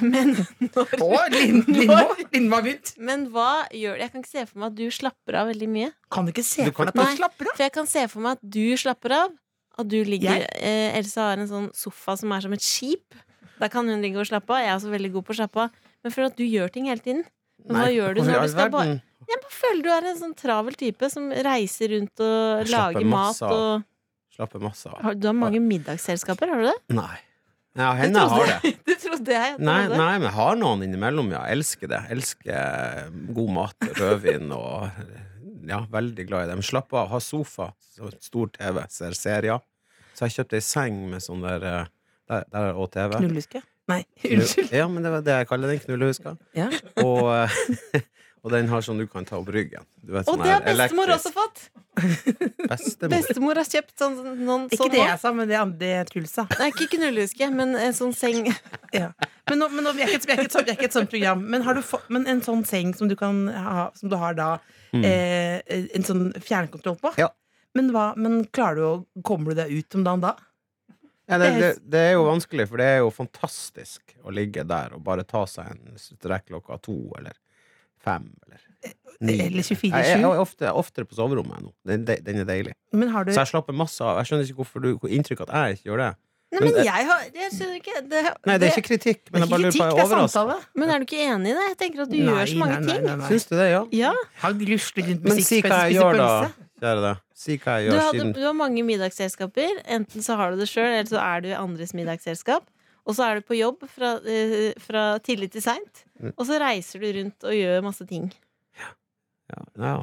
Men,
Å, Lind- Lindmo Lindmo har begynt.
men hva gjør det? Jeg kan ikke se for meg at du slapper av veldig mye.
Kan du ikke se
Du
for
kan-
deg at
Nei.
han slapper av?
For jeg kan se for meg at du slapper av. At du ligger
Jeg?
eh, Else har en sånn sofa som er som et skip. Da kan hun ligge og slappe av. Jeg er også veldig god på å slappe av. Men for at du gjør ting hele tiden. Men hva
Nei,
gjør du
hvorfor i
når
all
du skal bare
verden?
Jeg bare føler du er en sånn travel type som reiser rundt og
Jeg slapper
lager mat
masse av.
og
Slapper masse av.
har, Du har mange middagsselskaper, har du det?
Nei. Ja, henne
Jeg
har
trodde-
det.
Det trodde jeg. at du
Nei,
hadde.
nei, men jeg har noen innimellom, ja. Jeg elsker det. Jeg elsker god mat, rødvin og Ja, veldig glad i det. Men slapp av, ha sofa, så stor TV, ser serier. Så jeg kjøpte ei seng med sånn der eh, Der, der er det òg TV.
Knullehuske? Nei,
Knull-
unnskyld.
Ja, men det var det jeg kaller den, knullehuska.
Ja.
Og, eh, og den har sånn du kan ta opp ryggen. Du vet,
Og
sånn
det har
her
bestemor
elektrisk-
også fått!
Bestemor.
Bestemor har kjøpt sånn, noen,
Ikke
sånn
det altså.
nå.
jeg sa, men det andre Truls sa.
Nei, ikke knullehuske, men en sånn seng.
Ja. Men, nå, men nå, vi, er ikke, vi, er ikke, et sånt- vi er ikke et sånt program. Men, har du få, men en sånn seng som du, kan ha, som du har da, eh, en sånn fjernkontroll på?
Mm. Ja.
Men, hva, men klarer du å Kommer du deg ut om dagen da?
Ja, det, det, det er jo vanskelig, for det er jo fantastisk å ligge der og bare ta seg en strekk klokka to eller fem Eh, eller ni.
Eller 24-7.
Jeg, jeg, jeg er ofte, oftere på soverommet nå. Den, de- den er deilig.
Men har du
Så jeg slapper masse av. Jeg skjønner ikke hvorfor du hvor inntrykk at jeg ikke gjør det.
Nei,
Men
men
det-
jeg har Jeg skjønner ikke. Det,
Nei, det er ikke kritikk, men jeg bare lurer på jeg er overrasket.
Men er du ikke enig i det? Jeg tenker at du gjør så mange
nei,
ting.
nei, nei.
Syns du det, ja?
Ja,
Han grusler rundt
Men
med
si hva
sixpence og
jeg
spiser
gjør, da.
pølse.
Kjære deg. Si hva jeg
du,
gjør
hadde,
siden
du har mange middagsselskaper. Enten så har du det sjøl, eller så er du i andres middagsselskap. Og så er du på jobb fra, eh, fra tidlig til seint. Og så reiser du rundt og gjør masse ting.
ja, ja,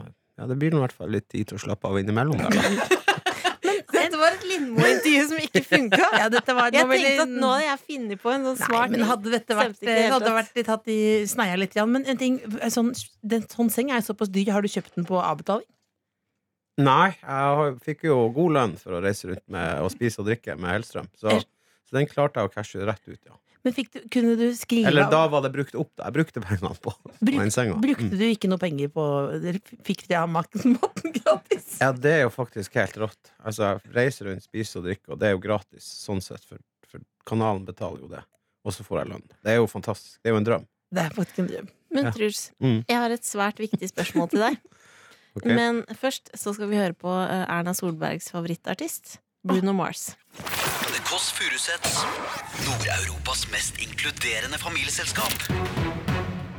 ja, det blir nå i hvert fall litt tid til å slappe av innimellom. Der, da.
Dette var et Lindmo-intervju som ikke funka.
Ja, dette var
Jeg
nå veldig-
tenkte at nå hadde jeg funnet på en sånn smart
Nei, men
ting.
hadde dette
Stemte
vært,
ikke i det hele
hadde
tatt.
vært litt hatt i sneia litt, grann. men en ting, sånn, den, sånn seng er jo såpass dyr. Har du kjøpt den på avbetaling?
Nei, jeg har- fikk jo god lønn for å reise rundt med og spise og drikke med Hellstrøm. Så, så den klarte jeg å cashe rett ut, ja.
Men fikk du, kunne du skrive
Eller
av-
da var det brukt opp. da. Jeg brukte pengene på, på
Bruk-
den senga.
Brukte
Mm.
du ikke noe penger på Dere fikk det av maten maten gratis?
Ja, det er jo faktisk helt rått. Altså, jeg reiser rundt, spiser og drikker, og det er jo gratis sånn sett, for, for kanalen betaler jo det. Og så får jeg lønn. Det er jo fantastisk. Det er jo en drøm.
Det er faktisk en drøm.
Men
Ja.
Truls,
Mm.
jeg har et svært viktig spørsmål til deg.
Ok?
Men først så skal vi høre på eh, Erna Solbergs favorittartist, Bruno Mars.
The Kåss Furuseths. Nord-Europas mest inkluderende familieselskap.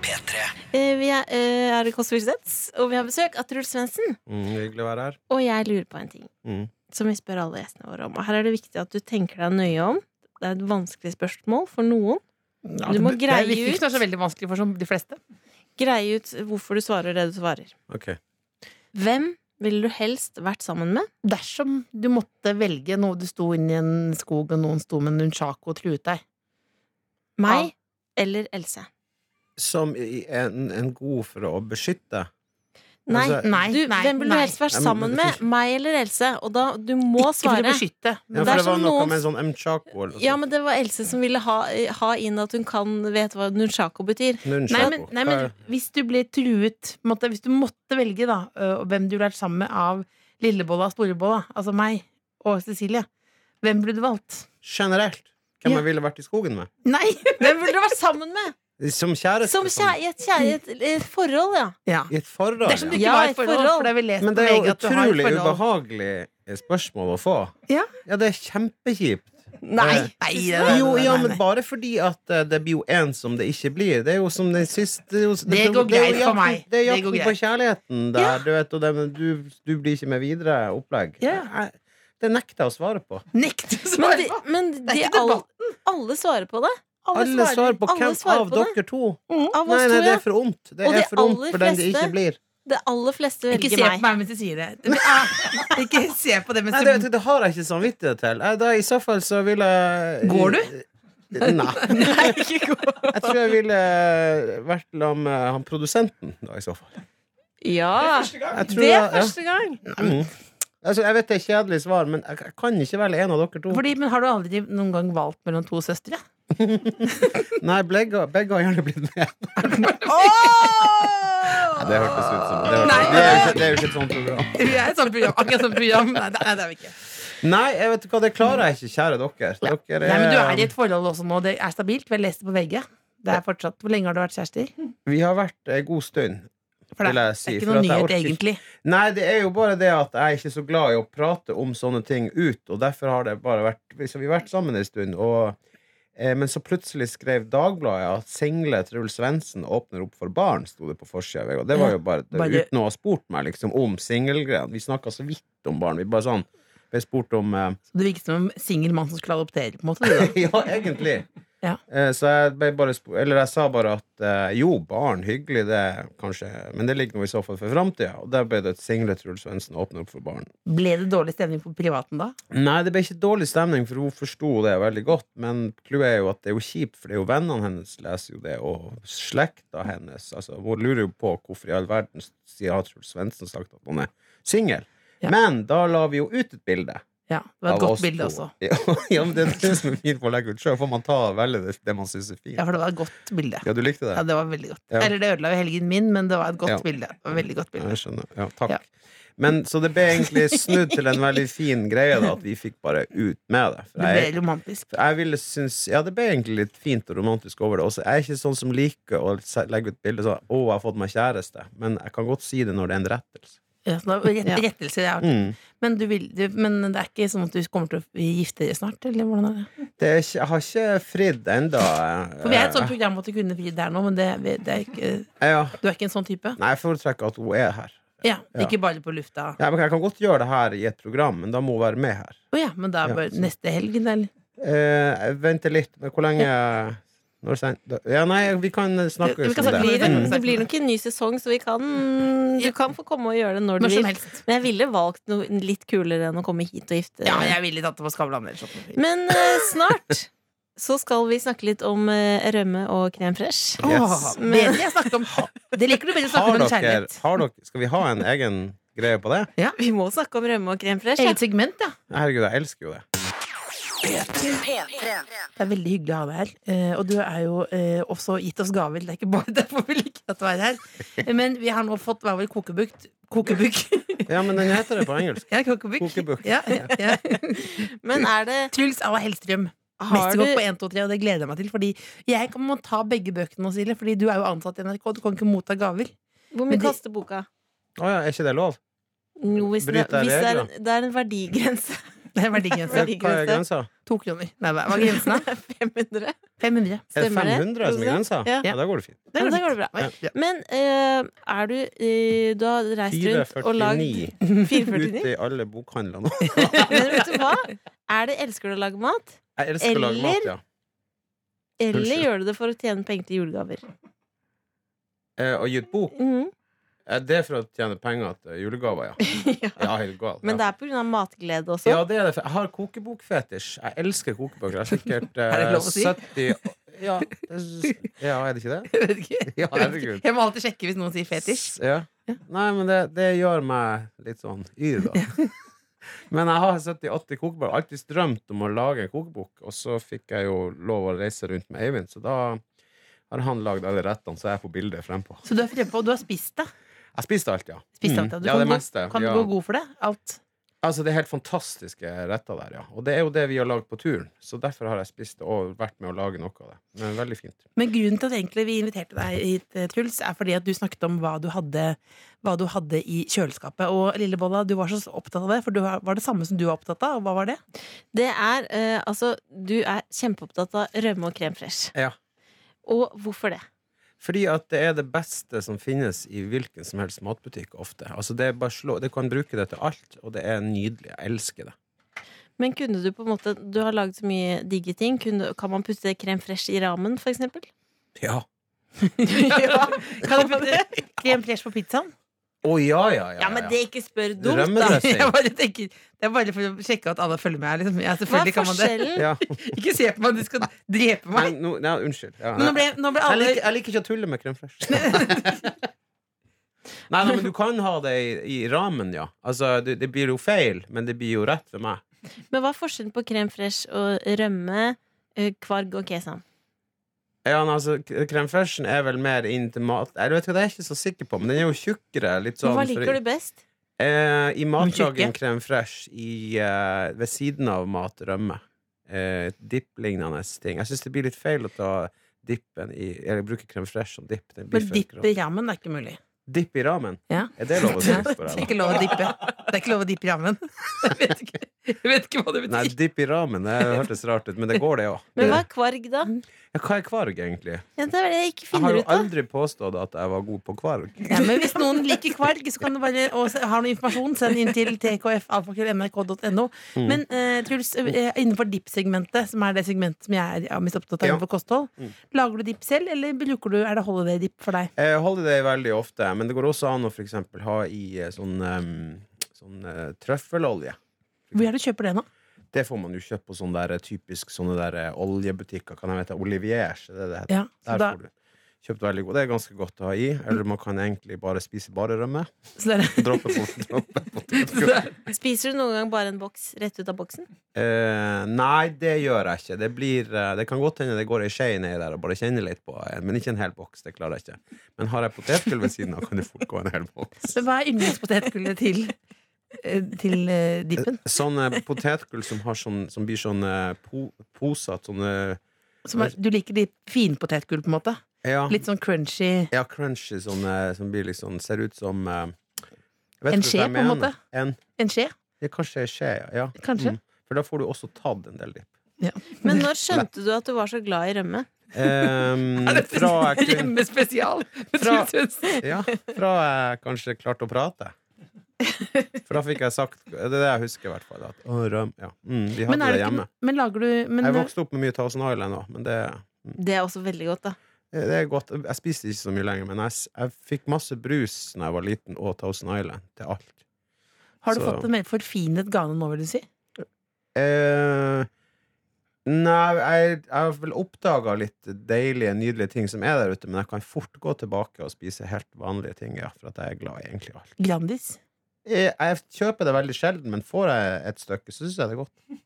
P3.
Eh, Vi er, eh, er Kåss Furuseths, og vi har besøk av Truls Svendsen.
Mm, hyggelig å være her.
Og jeg lurer på en ting
Mm.
som vi spør alle gjestene våre om. Og her er det viktig at du tenker deg nøye om. Det er et vanskelig spørsmål for noen. Du må
det
greie
det virker
ut.
ikke som det er så veldig vanskelig for som de fleste.
Greie ut hvorfor du svarer det du svarer.
Ok.
Hvem ville du helst vært sammen med?
Dersom du måtte velge noe du sto inni en skog, og noen sto med en nunchako og truet deg Ah.
Meg eller Else?
Som i en, en god for å beskytte.
Nei.
Altså,
Nei,
Du,
nei,
hvem ville du
nei.
helst vært
Nei, men-
sammen med? Meg eller Else? Og da, du må
Ikke for å
svare.
beskytte.
Ja,
Men
for
er
det
som
var noe
noen-
med en sånn mchako eller noe
Ja, men det var Else som ville ha, ha inn at hun kan vet hva nunchako betyr.
sånt.
Nei,
Nunchako.
men, nei,
Hva er-
men hvis du ble truet på en måte, Hvis du måtte velge da øh, og hvem du ville vært sammen med av Lillebolla og Storebolla, altså meg og Cecilie, hvem ville du valgt?
generelt hvem
Ja.
jeg ville vært i skogen med.
Nei!
Hvem ville du vært sammen med?
Som kjæreste.
Som
sånn.
kjære, i et kjære, i et- i et forhold, ja.
Ja.
I et forhold.
Dersom det ikke
ja.
Ja,
var
et
et forhold,
forhold.
for det har vi lest
Men
på
det er
VG
jo
at du har et
utrolig
forhold.
ubehagelig eh, spørsmål å få.
Ja.
det er kjempekjipt.
Nei,
Eh,
nei, nei, nei,
Jo, ja,
nei,
men
nei.
bare fordi at eh, det blir jo én som det ikke blir. Det er jo som den siste Det, er jo-
Det går
er jo
greit for
jakten-
meg.
Det er
Det går
jakten på
greit.
kjærligheten der,
Ja.
du vet, og det, men du, du blir ikke med videre opplegg.
Ja.
Jeg- Det nekter jeg å svare på.
Nekt
Men,
å svare
de,
på!
men
er
de,
ikke
alle, alle svarer på det.
Alle svarer på
alle
hvem
svarer
av
på det.
dere to.
Av
Nei,
oss
nei,
to,
det
ja.
er for ondt. Det
Og
er
de
for ondt
aller
for den det
fleste-
ikke blir.
Det aller fleste
Ikke
velger
se på
meg.
meg mens du sier det. Men, ah, Ikke se på det mens
Nei,
du
det, det har jeg ikke samvittighet til. Nei, da, I så fall så vil jeg
Går du?
Nei.
Nei, ikke gå.
Jeg tror jeg ville vært sammen med han produsenten, da, i så fall.
Ja,
Jeg tror
det er
jeg- ja.
første gang.
Mm. Altså, jeg vet det er et kjedelig svar, men jeg jeg kan ikke velge en av dere to.
Fordi, men har du aldri noen gang valgt mellom to søstre?
Nei, begge, begge har gjerne blitt med. Nei, det hørtes ut som Det,
Nei.
hørtes, det, er, jo ikke, det er jo ikke et sånt program.
Vi er et sånt program. Akkurat sånt program. Nei, det, nei, det er vi ikke.
Nei, jeg vet ikke hva, det klarer jeg ikke, kjære dere. dere
Nei, men du er i et forhold også nå. Det er stabilt. Vi har lest det på VG. Det er fortsatt. Hvor lenge har du vært kjærester?
Vi har vært en god stund.
For det,
Vil jeg
er-
si,
det er ikke
for
noe
at jeg
nyhet,
orker ikke-
egentlig.
Nei, det er jo bare det at jeg er ikke så glad i å prate om sånne ting ut, og derfor har det bare vært Så vi har vært sammen en stund, og eh, men så plutselig skrev Dagbladet at single Truls Svendsen åpner opp for barn, sto det på forsida. av VG, Og det var jo bare,
Bare-
uten å ha spurt meg liksom, om singelgreiene. Vi snakka så vidt om barn. Vi bare sånn ble spurt om eh,
Så du virker som en singel mann som skulle adoptere, på en måte. Du, da.
Ja, egentlig.
Ja.
Eh, Så jeg, ble bare sp- eller jeg sa bare at eh, jo, barn, hyggelig det, kanskje, men det ligger nå i så fall for framtida. Og der ble det et single Truls Svendsen åpner opp for barn.
Ble det dårlig stemning på privaten da?
Nei, det ble ikke dårlig stemning, for hun forsto det veldig godt. Men clouet er jo at det er jo kjipt, for det er jo vennene hennes leser jo det, og slekta hennes. Altså, hun lurer jo på hvorfor i all verden sier har Truls Svendsen sagt at han er singel.
Ja.
Men da la vi jo ut et bilde.
Ja, Det var et
av
godt
oss
bilde
to.
også.
Ja, men det er det som er fint med å legge ut sjøl. Får man ta og velge det, det man syns er fint.
Ja, for det var et godt bilde.
Ja, du likte
Ja,
det?
det var veldig godt.
Ja.
Eller det ødela jo helgen min, men det var et godt
Ja.
bilde. Det var et veldig godt
Ja,
bilde.
jeg skjønner. Ja, takk.
Ja.
Men, så det ble egentlig snudd til en veldig fin greie, da, at vi fikk bare ut med det. For
Det
jeg-
ble romantisk.
For jeg ville synes, Ja, det ble egentlig litt fint og romantisk over det. Også, jeg er ikke sånn som liker å se- legge ut bilder sånn 'Å, jeg har fått meg kjæreste', men jeg kan godt si det når det er en rettelse.
Ja, så det var rett, rettelse, det er.
Mm.
Men, du vil, du, men det er ikke sånn at du kommer til å gifte deg snart? Eller hvordan er det?
Det er ikke, jeg har ikke fridd ennå.
For vi er et sånt program at du kunne fri der nå, men det, vi- det er ikke,
eh, Ja.
du er ikke en sånn type?
Nei, jeg foretrekker at hun er her.
Ja,
Ja.
Ikke bare på lufta?
Ja, men jeg kan godt gjøre det her i et program, men da må hun være med her.
Å ja, men da
Ja,
bare
så-
neste helg, eller?
Eh, jeg venter litt, men hvor lenge Når sen, da, Ja, nei, vi kan snakke
Vi
om
kan
Det
snakke
det.
litt.
blir,
Mm.
det blir nok en ny sesong, så vi kan Du kan få komme og gjøre det når du
Når som
vil.
helst.
Men jeg ville valgt noe litt kulere enn å komme hit og gifte
Ja, jeg ville tatt det på Skavlan. eller sånn. sånt.
Men eh, snart så skal vi snakke litt om eh, rømme og krem fresh.
Åh,
Yes.
bedre jeg snakket om Det liker du bedre å snakke
Har
om enn
dere,
kjærlighet.
har dere, skal vi ha en egen greie på det?
Vi må snakke om rømme og krem fresh. Ja.
Eget segment, ja.
Herregud, jeg elsker jo det.
P3.
Det er veldig hyggelig å ha deg her. Eh, og du er jo eh, også gitt oss gaver. Det er ikke bare derfor vi liker at du er her. Men vi har nå fått hva var det, kokebukt Kokebukk.
Ja, men den heter det på engelsk.
ja, kokebukk.
Kokebukk.
Ja, ja, ja.
Men er det
Truls A. Hellstrøm.
Har du
Mesterkokk på 1, 2, 3, og det gleder jeg meg til. Fordi jeg kan må ta begge bøkene nå, Silje. Fordi du er jo ansatt i NRK. Du kan ikke motta gaver.
Hvor
Men
mye
de-
koster boka?
Å ja, er ikke det lov?
Jo, hvis det,
Bryter
hvis det, er,
regler.
en- det er en verdigrense.
Det er
Hva
verdigrense.
er grensa?
To kroner. Nei, hva hva er grensen, da?
500.
500.
Er det
Stemmer det?
500 som er grensa?
Ja.
Ja. da går det fint.
Ja, da går det bra.
Ja.
Men eh, er du eh, Du har reist rundt og lagd
449 ute
449.
i alle bokhandlene.
Men vet du hva? Er det elsker du å lage mat,
Jeg elsker å lage mat, ja.
eller
Unnskyld.
gjør du det for å tjene penger til julegaver?
Eh, Å gi ut bok,
Mhm.
eh, det er for å tjene penger til julegaver, ja.
ja.
Ja, helt galt.
Men det
ja.
er på grunn av matglede også.
Ja, det er det. for Jeg har kokebokfetisj. Jeg elsker kokebøker. Jeg har sikkert eh,
Er det lov å si?
70 Ja, det er- ja, er det ikke det?
Jeg vet ikke.
Ja, herregud.
Jeg må alltid sjekke hvis noen sier fetisj.
Ja. Nei, men det, det gjør meg litt sånn yr, da. Men jeg har 78 kokebøker. Alltid drømt om å lage en kokebok. Og så fikk jeg jo lov å reise rundt med Eivind, så da har han lagd alle rettene, så jeg får bildet frempå.
Så du er frempå, og du har spist det?
Jeg spiste alt, ja.
Spist
Mm.
alt, ja. Du
ja
kan
det
gå-
meste.
Kan du
ja.
gå god for det? Alt?
Altså, det er helt fantastiske retter der, ja. Og det er jo det vi har lagd på turen, så derfor har jeg spist det og vært med å lage noe av det. Men veldig fint.
Men grunnen til at egentlig vi inviterte deg hit, eh, Truls, er fordi at du snakket om hva du hadde, hva du hadde i kjøleskapet. Og Lillebolla, du var så opptatt av det, for du var var det samme som du var opptatt av. Og hva var det?
Det er, eh, altså, du er kjempeopptatt av rømme og krem fresh.
Ja.
Og hvorfor det?
Fordi at det er det beste som finnes i hvilken som helst matbutikk ofte. Altså det er bare slå, Du kan bruke det til alt, og det er nydelig. Jeg elsker det.
Men kunne du på en måte Du har laget så mye digge ting. Kunne, kan man putte krem fresh i ramen, for eksempel?
Ja.
Kan du putte krem fresh på pizzaen?
Å ja, ja, ja.
Ja, men det ikke spør dumt, da.
Rømmedressing.
Jeg bare tenker, det er bare for å sjekke at alle følger med her. Liksom. Ja,
Hva er
selvfølgelig kan man det.
forskjellen?
Ja.
Ikke se på meg, du skal drepe meg.
Men nå- nei, unnskyld. Ja,
Men nå
nei.
ble, nå ble
Jeg
alle
liker, jeg liker ikke å tulle med crème fraiche. nei, nei, men du kan ha det i, i ramen, ja. Altså, det, det blir jo feil, men det blir jo rett for meg.
Men hva er forskjellen på krem fresh og rømme, eh, kvarg og kesam?
Ja, men altså, k- Crème fraichen er vel mer inn til mat Jeg vet ikke, det er jeg ikke så sikker på, men den er jo tjukkere. Litt sånn,
Hva
for-
liker du best?
Eh, I
tjukke?
matlaging crème fraiche i, eh, ved siden av mat rømme. Eh, Dipp-lignende ting. Jeg syns det blir litt feil å ta dippen i Eller bruke crème fraiche som dipp. Den blir
Men
for
dipp
kram.
i rammen er ikke mulig.
Dipp i ramen?
Ja.
Er det lov
Ja,
å si?
Det
spør
er
jeg da?
ikke lov å dippe. Det er ikke lov å dippe i rammen. Jeg vet ikke, jeg vet ikke hva det
Nei,
betyr.
dipp i ramen det hørtes rart ut, men det går, det òg.
Men hva er kvarg, da?
Ja, hva er kvarg, egentlig?
Ja, det er det jeg ikke
Jeg har
finner
jo
ut av.
aldri påstått at jeg var god på kvarg.
Ja, men hvis noen liker kvarg så kan du bare, og s- har noe informasjon, send inn til tkf.nrk.no. Men eh, Truls, eh, innenfor dipp-segmentet, som er det segmentet som jeg er ja, Mm. mest opptatt av
Ja.
innenfor kosthold, lager du dipp selv, eller bruker du, er det holiday-dipp for deg?
Jeg holder det veldig ofte, men det går også an å for eksempel ha i eh, sånn, em, sånn eh, trøffelolje.
Hvor er det du kjøper det nå?
Det får man jo kjøpt på sånne der, typisk sånne der eh, oljebutikker. Kan jeg vite Oliviers? er Det det heter.
Ja, så
Der
da,
får du kjøpt veldig god. Det er ganske godt å ha i. Eller man kan egentlig bare spise bare rømme.
så det er,
Droppe på, droppe på
så det er,
Spiser du noen gang bare en boks rett ut av boksen?
Eh, nei, det gjør jeg ikke. Det, blir, eh, det kan godt hende det går ei skje nedi der og bare kjenner litt på, eh, men ikke en hel boks. Det klarer jeg ikke. Men har jeg potetgull ved siden av, kan det fort gå en hel boks.
Men hva er yndlingspotetgullet til, eh, til eh, dippen?
Sånn eh, potetgull som, har sånn, som blir sånn eh, po posete, sånn eh,
Som er, du liker de finpotetgull, på en måte?
ja,
Litt sånn crunchy
ja, crunchy, sånn, eh, som blir litt sånn Ser ut som eh, jeg vet
En
ikke
skje,
hva jeg
på en
mener.
måte?
En,
en skje?
ja, kanskje en skje, ja. ja.
Kanskje.
Mm. For da får du også tatt en del dipp.
Men når skjønte du at du var så glad i rømme?
Um, fra jeg kunne
Remmespesial!
Fra-
Fra...
Ja, fra jeg kanskje klarte å prate. For da fikk jeg sagt Det er det jeg husker, i hvert fall. At, å, røm, ja. mm, vi hadde
Men, er det
det hjemme.
ikke, men lager du men, eh,
Jeg vokste opp med mye Thousand Island òg, men det,
Det er også veldig godt, da.
det er godt. Jeg spiste ikke så mye lenger, men jeg, s- jeg fikk masse brus Når jeg var liten, og Thousand Island til alt.
Har du
så-
fått en mer forfinet gane nå, vil du si?
Eh, nei, jeg, jeg har vel oppdaga litt deilige, nydelige ting som er der ute, men jeg kan fort gå tilbake og spise helt vanlige ting, ja, for at jeg er glad i egentlig alt.
Grandis.
Jeg, jeg kjøper det veldig sjelden, men får jeg et stykke, så syns jeg det er godt.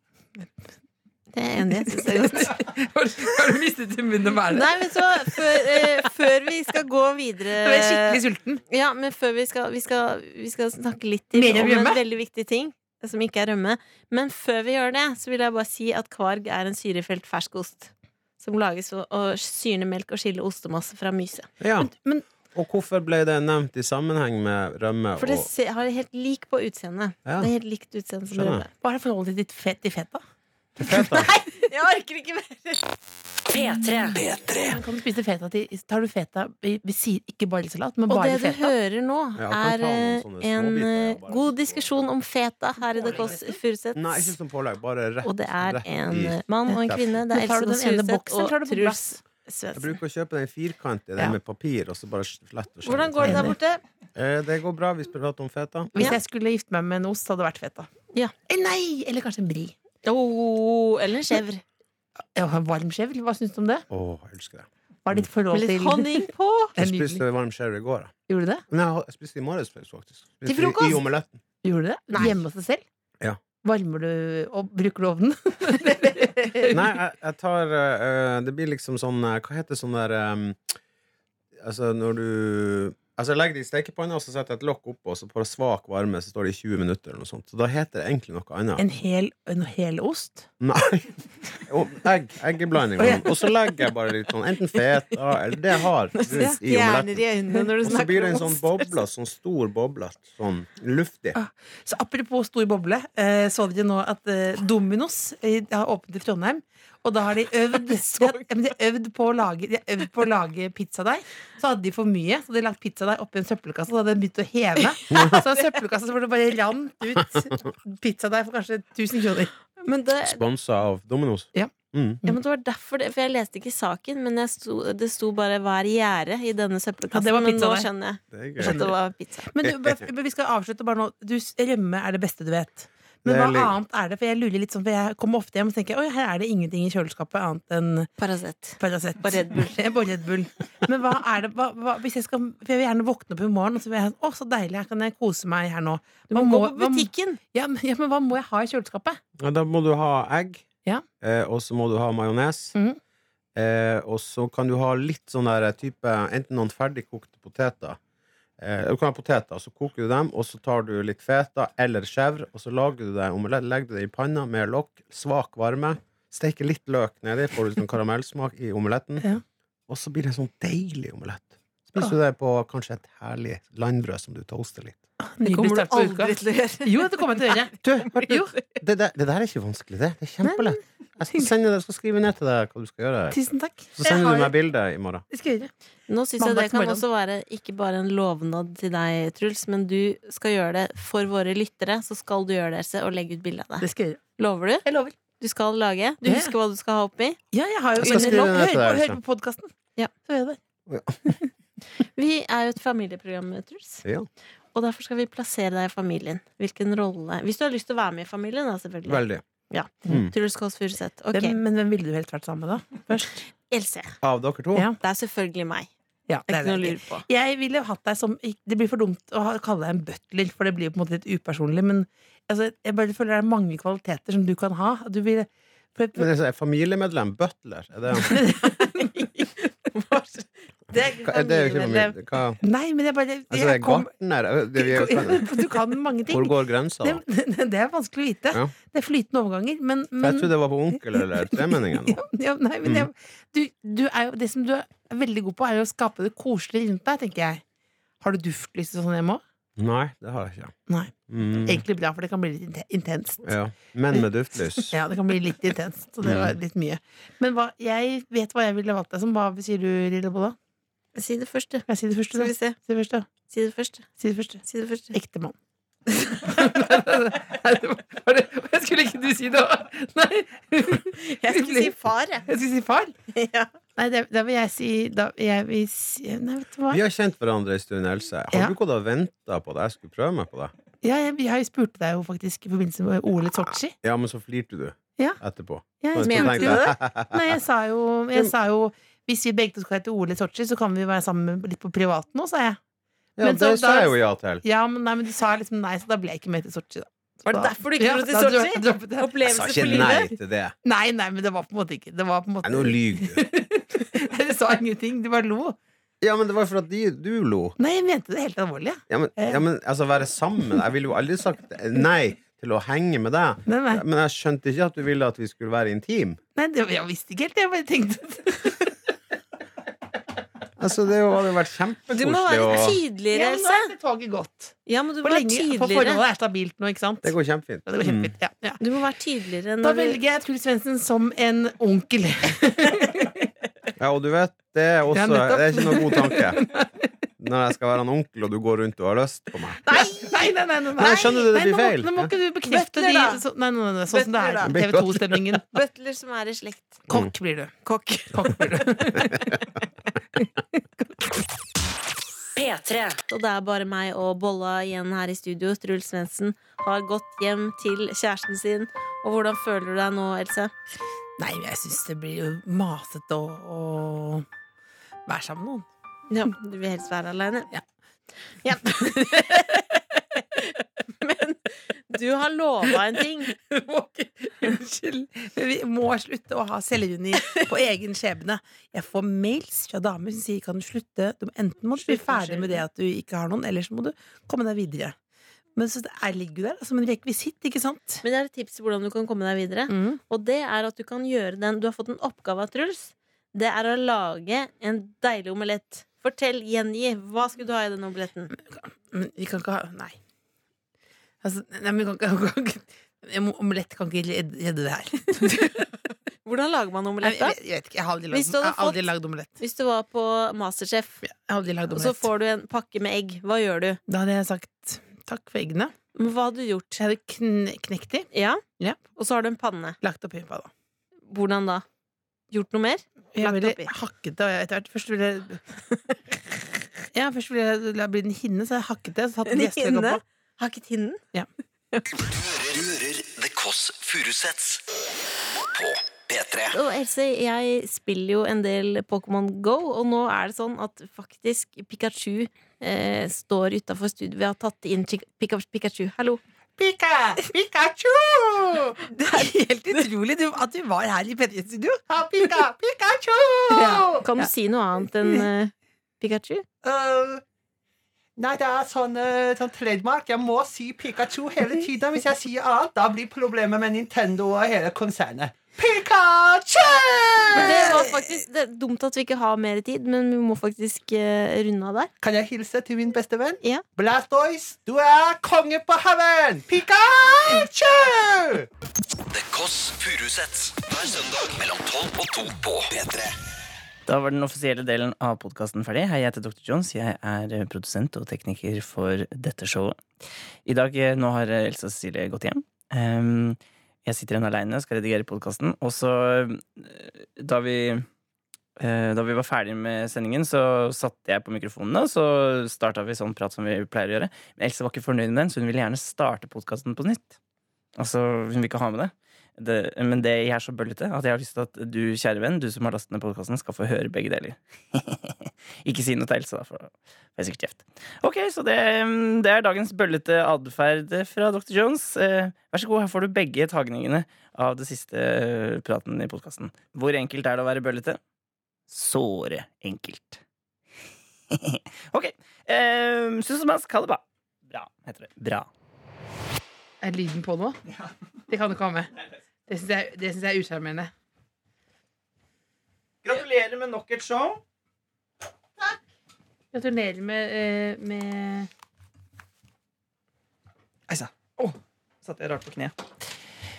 Det er jeg enig i. jeg synes det er godt.
Har du mistet i munnen å være
Nei, men så før, eh, før vi skal gå videre
Jeg er skikkelig sulten.
Ja, men før vi skal, vi skal, vi skal snakke litt til
Mer enn
om en
rømme?
veldig viktig ting. Som ikke er rømme. Men før vi gjør det, så vil jeg bare si at kvarg er en syrefelt ferskost. Som lages ved å syrne melk og skille ostemasse fra myse.
Ja.
men-
og hvorfor ble det nevnt i sammenheng med rømme
For det
og
se- har helt lik på utseendet.
Ja.
Det er helt likt utseende som
Skjønner.
rømme.
Hva er forholdet ditt fett i feta?
feta?
Jeg orker ikke mer!
P3.
Men Kan du spise feta til Tar du feta i, ved siden- ikke bare i salat, men
Og
bare
det
i
du
feta?
hører nå,
Ja,
er
jeg kan ta noen
eh,
sånne
en
småbiter,
eh,
ja, bare-
god diskusjon om feta her i The Kåss Furuseths.
Nei, ikke som pålegg, bare rett.
Og det er
rett
en eh,
i.
mann og en kvinne. Det er
Men tar du
Else Kåss
den ene
Furuseth
boksen, eller tar du
og
på
Truls
glass?
Jeg
Svendsen.
bruker å kjøpe den firkantige, den
Ja.
med papir, og så bare slett og skjære.
Hvordan går det der borte?
Eh, det går bra. Vi prater om feta.
Hvis
Ja.
jeg skulle gifte meg med en ost, hadde det vært feta.
Ja.
Eh, Nei! Eller kanskje en brie.
Oh, eller en skjevr.
Ja, varm skjevl, hva syns du om det?
Å, jeg elsker det.
Hva er ditt forhold
Med litt
til
honning på.
Det er
Jeg
nydelig.
spiste varm sherry i går. da.
Gjorde du det?
Nei, jeg har- jeg spiste i morges, faktisk. Spiste i-
frokost?
I omeletten.
Gjorde du det?
Nei.
Hjemme hos deg selv?
Ja.
Varmer du og bruker du ovnen?
Nei, jeg, jeg tar eh, eh, Det blir liksom sånn eh, Hva heter sånn der eh, Altså, når du Altså, jeg legger det i stekepanna, og så setter jeg et lokk oppå, og så på svak varme så står det i 20 minutter eller noe sånt. Så da heter det egentlig noe annet.
En hel, en hel ost?
Nei. Jo, egg. Eggeblanding.
Å, ja.
Og så legger jeg bare litt sånn enten feta eller det jeg har rundt i omeletten.
øynene når
Og så blir det en sånn boble, sånn stor boble, sånn luftig.
Så apropos stor boble, eh, så dere nå at eh, Dominos eh, har åpnet i Trondheim. Og da har de øvd, de har, ja, men de har øvd, på, å lage, de har øvd på å lage pizzadeig. Så hadde de for mye, så hadde de lagt pizzadeig oppi en søppelkasse. Så hadde den begynt å heve. Så av søppelkassa så var det bare rant ut pizzadeig for kanskje 1000 kroner.
Men det,
Sponsa av Domino's. Mm.
Ja, men det var derfor det, For jeg leste ikke saken, men jeg sto, det sto bare 'hva er gjerdet' i denne
Ja,
søppelkassen.
det var
men
pizza
nå
der.
skjønner jeg
Det er
at
gøy.
det var pizza.
Men du, bare- vi skal avslutte bare nå. Du, s- rømme er det beste du vet. Men
Det er
hva
litt-
annet er det? For jeg lurer litt sånn, for jeg kommer ofte hjem og tenker oi, her er det ingenting i kjøleskapet annet enn
Paracet.
Paracet.
Bare Red Bull.
Ja, bare Red Bull. Men hva er det hva, hva, hvis jeg skal, For jeg vil gjerne våkne opp i morgen og så vil jeg Å, så deilig, her kan jeg kose meg her nå.
Du
Hva
må gå på
hva-
butikken!
ja, men, ja, men hva må jeg ha i kjøleskapet?
Ja, da må du ha egg,
Ja.
eh, og så må du ha majones.
Mhm.
Eh, og så kan du ha litt sånn der type Enten noen ferdigkokte poteter. Eh, du kan ha poteter, så koker du dem, og så tar du litt feta eller chèvre, og så lager du deg omelett, legger du det i panna med lokk, svak varme, steker litt løk nedi, får du sånn karamellsmak i omeletten,
Ja.
og så blir det en sånn deilig omelett. Spiser du det på kanskje et herlig landbrød som du toaster litt.
Det
Nydelig
kommer
start
du
på uka.
aldri til å gjøre.
Jo, det kommer jeg til å gjøre.
Du,
Jo.
det, der, det der er ikke vanskelig, det. Det er kjempelett. Jeg skal, sende deg, jeg skal skrive ned til deg hva du skal gjøre.
Tusen takk.
Så sender du
Jeg har-
meg bildet i morgen.
Det skal jeg gjøre.
Nå syns jeg det kan
Mandagsmorgen.
også være ikke bare en lovnad til deg, Truls, men du skal gjøre det for våre lyttere. Så skal du gjøre det Else, og legge ut bilde av
Det
det.
skal jeg gjøre.
Lover du?
Jeg lover.
Du skal lage? Du
Ja.
husker hva du skal ha oppi?
Ja, jeg har jo
Jeg skal
Hør
skrive ned til
på,
deg,
hør
Else.
på podkasten.
Ja.
Så gjør jeg det.
Vi er jo et familieprogram, Truls.
Ja.
Og derfor skal vi plassere deg i familien. Hvilken rolle Hvis du har lyst til å være med i familien, da, selvfølgelig.
Veldig.
Ja.
Mm.
Truls Kåss Furuseth. Ok,
Hvem, men hvem ville du helst vært sammen med, da? Først?
Else.
Av dere to?
Ja.
Det er selvfølgelig meg.
Ja,
Det er ikke noe å
det.
lure på.
Jeg ville hatt deg som Det blir for dumt å ha- kalle deg en butler, for det blir jo på en måte litt upersonlig, men altså, jeg bare føler det er mange kvaliteter som du kan ha. Du vil for,
Men altså, er familiemedlem? Butler? Er det,
det,
hva, er det jo ikke familie? Hva?
Nei, men jeg bare
Altså, det
jeg
er
kom-
gartner? Det, vi er, jo-
Du kan mange ting.
hvor går grensa, da?
Det, det er vanskelig å vite.
Ja.
Det er flytende overganger. Men,
For
men
Jeg trodde det var på onkel eller tremenningen. nå. Mm.
ja, ja, nei, men jeg, du, du er jo, Det som du er veldig god på, er jo å skape det koselig rundt deg, tenker jeg. Har du duftlys og sånn hjemme òg?
Nei, det har jeg ikke.
Nei.
Mm.
Egentlig bra, for det kan bli litt inte- intenst.
Ja. Mm. Men med duftlys.
Ja, det kan bli litt intenst. Så det var litt mye. Men hva, jeg vet hva jeg ville valgt deg som. Hva sier du, Lille Bolla?
Si det først, du.
Kan jeg si det først?
Skal vi
eller?
se.
Si det først, da.
Si det først.
Si det først.
Si det først.
Ektemann. Jeg skulle ikke du si det òg? Nei.
Jeg skulle si far, jeg.
Jeg skulle si far. Nei, det- da vil jeg si da, jeg vil si, Nei, vet du hva.
Vi har kjent hverandre en stund, Else. Har
Ja.
du gått og venta på at jeg skulle prøve meg på det?
Ja, jeg, jeg har jo spurt deg jo faktisk i forbindelse med OL i Sotsji.
Ja, men så flirte du
Ja.
etterpå.
Ja,
Og så
Mente
tenkte
du
jeg,
Nei, jeg sa jo, jeg sa jo hvis vi begge to skal til OL i Sotsji, så kan vi være sammen litt på privaten nå, sa jeg.
Ja,
Men så
det sa
da-
jeg jo ja til.
Ja, men, nei, men du sa liksom nei, så da ble jeg ikke med til Sotsji, da.
Var det
Da-
derfor du ikke
Ja,
dro til
da dro-
Sotsji?
droppet jeg.
Jeg sa
Opplevelse
ikke
for
nei
livet.
til det.
Nei, nei, men det var på en måte ikke Det var på en måte
Nei, nå lyver du.
Du sa ingenting, du bare lo.
Ja, men det var for at de, du lo.
Nei, jeg mente det helt alvorlig. Ja.
Ja, men, ja, men altså, være sammen Jeg ville jo aldri sagt nei til å henge med deg.
Nei, nei.
Men jeg skjønte ikke at du ville at vi skulle være intime.
nei det, jeg visste ikke helt. Jeg bare tenkte
Altså, det jo- hadde jo vært
Du må
kjempekoselig
være
å
tydeligere,
men nå
Else.
er det toget gått.
Ja, men du må
For,
være
lenge, for
tydeligere.
forholdet er stabilt nå, ikke sant?
Det går kjempefint.
Ja, det går
Mm.
kjempefint. Ja, ja.
Du må være tydeligere
Da
når du
velger jeg Truls Svendsen som en onkel.
Ja, og du vet, det er også
Ja, nettopp.
Det er ikke noen god tanke. Når jeg skal være en onkel, og du går rundt og har lyst på meg.
Nei, nei, nei! nei, nei,
Nei, skjønner du, det blir
nå må-
feil.
Nå må ikke du bekrefte
Butler,
de
da.
så, Nei, nei, nei, nei, sånn som det
Butler, da.
er. TV 2-stemningen.
Butler som er i slekt.
Mm.
Kokk blir du.
Kokk.
Kokk blir du.
P3.
Og det er bare meg og Bolla igjen her i studio. Truls Svendsen har gått hjem til kjæresten sin. Og hvordan føler du deg nå, Else?
Nei, men jeg syns det blir jo masete å, å være sammen med noen.
Ja, du vil helst være aleine?
Ja.
Ja. Men du har lova en ting.
må ikke- Unnskyld. Men vi må slutte å ha selvironi på egen skjebne. Jeg får mails fra damer som sier kan du slutte. Du må enten må du bli
Slutt med
ferdig med det at du ikke har noen, eller så må du komme deg videre. Men så det er- ligger jo der da, som en rekvisitt, ikke sant?
Men jeg har et tips til hvordan du kan komme deg videre.
Mm.
Og det er at du kan gjøre den Du har fått en oppgave av Truls. Det er å lage en deilig omelett. Fortell, gjengi. Hva skulle du ha i den omeletten?
Men vi kan ikke ha Nei. Altså, nei, men vi kan ikke, kan ikke jeg må- Omelett kan ikke redde redde det her.
Hvordan lager man
Jeg,
omelett, da?
jeg, jeg vet ikke, jeg har aldri
Hvis
lagd,
du hadde
jeg har aldri
fått-
lagd omelett.
Hvis du var på Masterchef,
Jeg har aldri lagd
og så
omelett.
får du en pakke med egg, hva gjør du?
Da hadde jeg sagt takk for eggene.
Men Hva hadde du gjort?
Jeg hadde kn knekt de,
Ja?
Ja.
Og så har du en panne.
lagt oppi på da.
Hvordan da? Gjort noe mer?
Jeg
Lagt
ville
oppi.
hakket det og jeg etter hvert. Først ville jeg Ja, først ville jeg la bli en hinne, så jeg hakket det. Så satt
En
gjestene
hinne?
oppå.
Hakket hinnen?
Du hører, du hører The Kåss Furuseths på P3.
Og Else, jeg spiller jo en del Pokémon Go, og nå er det sånn at faktisk Pikachu eh, står utafor studio. Vi har tatt inn Chi- Pika, Pikachu. Hallo.
Pika! Pikachu! Det er helt utrolig du, at du var her i P3 Studio. Ha, Pika! Pikachu!
Ja. Kan du si noe annet enn eh, Pikachu?
Øh, Nei, det er sånn, øh, sånn trademark. Jeg må si Pikachu hele tiden. Hvis jeg sier annet, da blir problemet med Nintendo og hele konsernet. Pikachu!
Det var faktisk det er dumt at vi ikke har mer tid, men vi må faktisk eh, runde av der.
Kan jeg hilse til min beste venn?
Ja.
Blastoise, du er konge på haugen! Pikachu!
The Kåss Furuseths hver søndag mellom 12 og 2 på P3.
Da var den offisielle delen av podkasten ferdig. Hei, jeg heter Dr. Jones. Jeg er eh, produsent og tekniker for dette showet. I dag, eh, nå har eh, Elsa Cecilie gått hjem. Ehm, Jeg sitter igjen aleine og skal redigere podkasten. Og så, eh, da vi eh, da vi var ferdig med sendingen, så satte jeg på mikrofonene, og så starta vi sånn prat som vi pleier å gjøre. Men Elsa var ikke fornøyd med den, så hun ville gjerne starte podkasten på nytt. Altså, hun vil ikke ha med det det, men det jeg er så bøllete at jeg har lyst til at du, kjære venn, du som har lastet ned podkasten, skal få høre begge deler. Ikke si noe til Else, da, for da får jeg sikkert kjeft. Ok, så det, mm, det er dagens bøllete atferd fra Dr. Jones. Eh, vær så god, her får du begge tagningene av det siste eh, praten i podkasten. Hvor enkelt er det å være bøllete? Såre enkelt. ok. Eh, Susanne Kaleba. Bra, heter det. Bra.
Er lyden på nå? Det kan du ikke ha med. Det syns jeg, det synes jeg er usjarmerende.
Gratulerer med nok et show.
Gratulerer med, eh, med
Ei sann. Å, satt jeg rart på kne.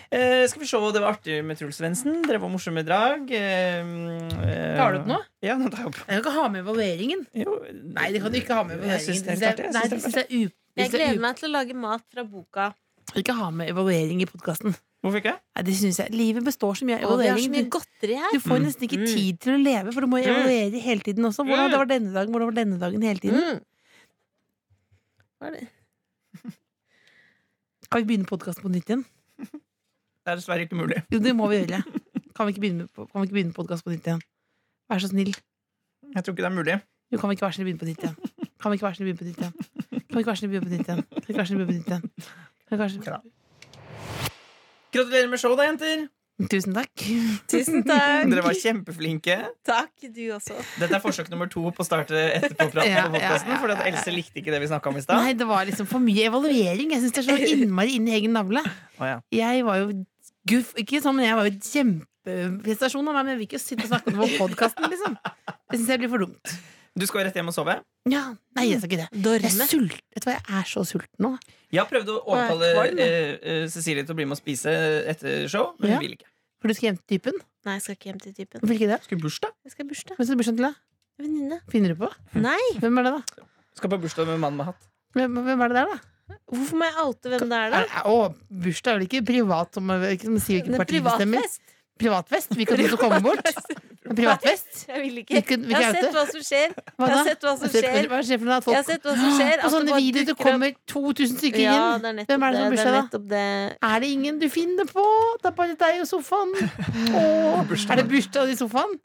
Eh, skal vi se, det var artig med Truls Svendsen. Dere var morsomme drag. Eh, eh,
Tar du opp nå?
Ja, nå tar jeg opp.
Jeg kan ikke ha med evalueringen.
Jo,
Nei, det kan du ikke ha med
Jeg
evalueringen.
syns det er
Det syns
klart, jeg.
nei,
Jeg
det
syns det
syns
er
jeg er
Jeg
u... det syns jeg
gleder
er u-
meg til å lage mat fra boka.
Ikke ha med evaluering i podkasten.
Hvorfor ikke?
Nei, det syns jeg. Livet består så mye av
Og vi har så mye
evaluering.
godteri her.
Du får nesten
Mm.
ikke tid til å leve, for du må evaluere hele tiden også. Hvordan det var denne dagen, hvordan var denne dagen hele tiden.
Mm. Hva er det?
Kan vi begynne podkasten på nytt igjen?
Det er dessverre ikke mulig.
Jo, det må vi gjøre. Kan vi ikke begynne, på- kan vi ikke begynne podkast på nytt igjen? Vær så snill.
Jeg tror ikke det er mulig.
Jo, kan vi ikke være snill og begynne på nytt igjen? Kan vi ikke være snill og begynne på nytt igjen? Kan vi ikke være snill og begynne på nytt igjen? Kan vi ikke være snill og begynne på nytt igjen? Kan vi ikke være
Gratulerer med show, da, jenter!
snill- Tusen takk.
Tusen takk.
Dere var kjempeflinke.
Takk, du også.
Dette er forsøk nummer to på å starte etterpåpraten
Ja,
på podkasten.
ja, ja,
Fordi at Else likte ikke det vi snakka om i stad.
Nei, det var liksom for mye evaluering. Jeg syns det er så innmari inn i egen navle.
Å, ja.
Jeg var jo guff, ikke sånn, men jeg var jo kjempeprestasjon av meg, men jeg vil ikke sitte og snakke om det på podkasten, liksom. Det syns jeg blir for dumt.
Du skal rett hjem og sove.
Ja, nei, jeg skal ikke det. Jeg er
Dorme.
sulten. Vet du hva, jeg er så sulten nå.
Jeg har prøvd å
jeg
overtale
kvalm nå?
eh, eh, Cecilie til å bli med og spise etter show, men
Ja.
hun vil ikke.
For du skal hjem til typen?
Nei, jeg skal ikke hjem til typen.
Hvorfor ikke det?
Skal i bursdag?
Jeg skal i bursdag.
Hvem skal du bursdagen til, da?
Venninne.
Finner du på?
Nei!
Hvem er det, da?
Skal på bursdag med mann med hatt.
Hvem, hvem er det der, da?
Hvorfor må jeg oute hvem det er, da?
Er, er, å, bursdag er vel ikke privat som, ikke, som sier
Det
hvilket
er
parti det stemmer?
privatfest.
Privatfest? Vi kan ikke komme bort. Privatfest?
Jeg vil ikke.
Vi kan, vi
Jeg har
kan
sett hva som skjer.
Hva
Jeg
da?
har sett hva som
Har du sett-
skjer.
Hva skjer for noe? At
Jeg har
folk
sett hva som skjer. at
på
det
sånne
bare
videoer det
dukker opp.
kommer 2000 stykker
ja,
inn.
det er nettopp
Hvem er det som
det,
har bursdag,
er
da?
nettopp det.
Er det ingen du finner på? Det er bare deg og sofaen. Åh, er det bursdag i sofaen?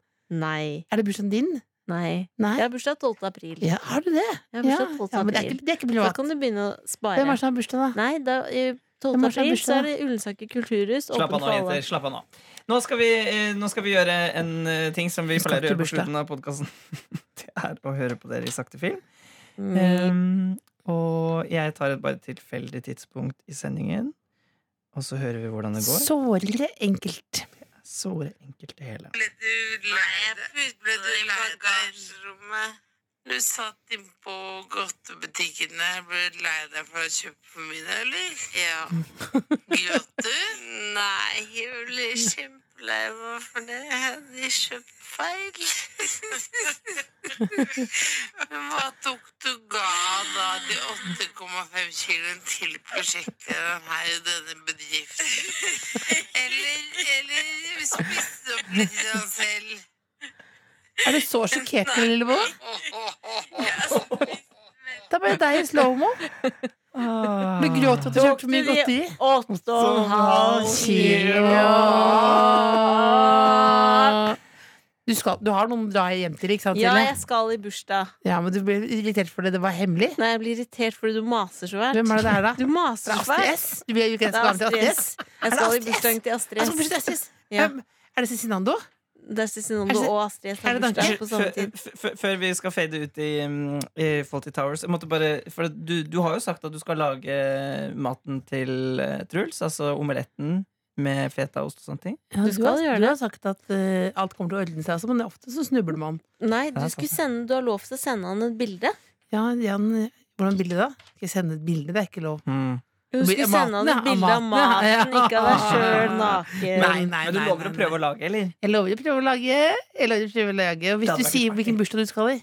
Nei.
Er det bursdagen din?
Nei.
Nei.
Jeg har bursdag 12. april.
Ja, har du det?
Jeg har
Ja,
bursdag 12.
ja men det er
april.
ikke, det er ikke
Da
privat.
kan du begynne å
Hvem er
spare.
det som har bursdag, da?
Nei, da, eh, 12.
Hvem er det som har
april så
bursdag,
er det Ullensaker kulturhus.
Slapp
Åpen
av nå,
for alle.
jenter. Slapp av nå. Nå skal vi, eh, nå skal vi gjøre en eh, ting som vi
Vi skal
pleier å
til
gjøre på
bursdag.
slutten av podkasten. Det er å høre på dere i sakte film.
Mm.
Ehm, og jeg tar et bare tilfeldig tidspunkt i sendingen, og så hører vi hvordan det går.
Sårere enkelt.
Såre enkelt det hele.
Ble du lei deg? Du satt innpå godtebutikken der. Ble du lei deg for å kjøpe for mye, eller? Ja. Gråt du? Nei, jeg ble kjempelei lei meg for det. Jeg hadde kjøpt feil. Men hva tok du ga da de 8,5 kiloene til prosjektlederen her i denne bedriften? Eller, eller spiste opp litt av han selv?
Er du så sjokkert, Lillebo? Da ble deg i slow-mo. Du gråt at du kjørte for mye godteri.
Åtte og en halv
kilo. Du, skal, du har noen å dra hjem til, ikke sant?
Ja,
Silje?
jeg skal i bursdag.
ja, men du ble irritert fordi det var hemmelig?
Nei, jeg blir irritert fordi du maser så fælt.
Hvem er det det er, da?
Du
Det
maser
er
så
Astrid
fælt.
S. Du vil jo ikke
Det er
skal til Astrid S.
Jeg
Er det
skal i
Astrid S?
bursdagen til Astrid
Altså,
S.
bursdag S, yes.
Ja.
Um, Er det Cezinando?
Det er Cezinando
Er det-
og Astrid S
er
har
det
bursdag på samme tid.
F- f- Før vi skal fade ut i, mm, i Faulty Towers jeg måtte bare, for du, du har jo sagt at du skal lage maten til eh, Truls, altså omeletten med feta ost og sånne ting.
Ja,
Du skal
har,
gjøre
du
det.
har sagt at eh, alt kommer til å ordne seg, også, men ofte så snubler man.
Nei,
Ja,
du, skulle sende, du har lov til å sende han et bilde.
Ja, Jan, hvordan bilde da? Skal jeg sende et bilde? Det er ikke lov.
Du
Blir-
skulle
maten,
sende han
ja,
et bilde av
maten, ja. Ah.
maten, ikke av deg sjøl
Nei,
naken.
nei,
Men du
nei,
lover
nei,
å prøve å lage, eller?
Eh, Jeg lover å prøve å lage. Jeg lover å prøve å lage. Og
Det
hvis
hadde
du
vært
sier
litt
hvilken bursdag du skal i,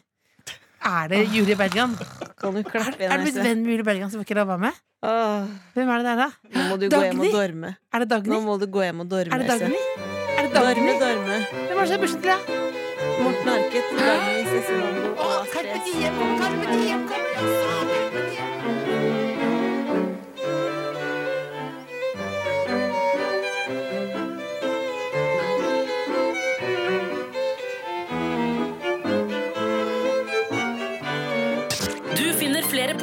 er det Julie Bergan?
Kan du
Er,
klappe
er du
igjen?
blitt
Else?
venn med Julie Bergan som ikke la være med?
Åh,
Hvem er det der, da?
Nå må du gå hjem
Dagny?
og dorme.
Er det Dagny?
Nå må du gå hjem og dorme.
Er det
Else.
Dagny? Er det
Dorme,
Dagny?
dorme.
Hvem er det som er bursdag til deg?
Morten Harket, Dagny Cezinando
Å,
og Astrid
Carpe
S.
Diem! Carpe Diem! Carpe Diem! sa Carpe Diem!
Du finner flere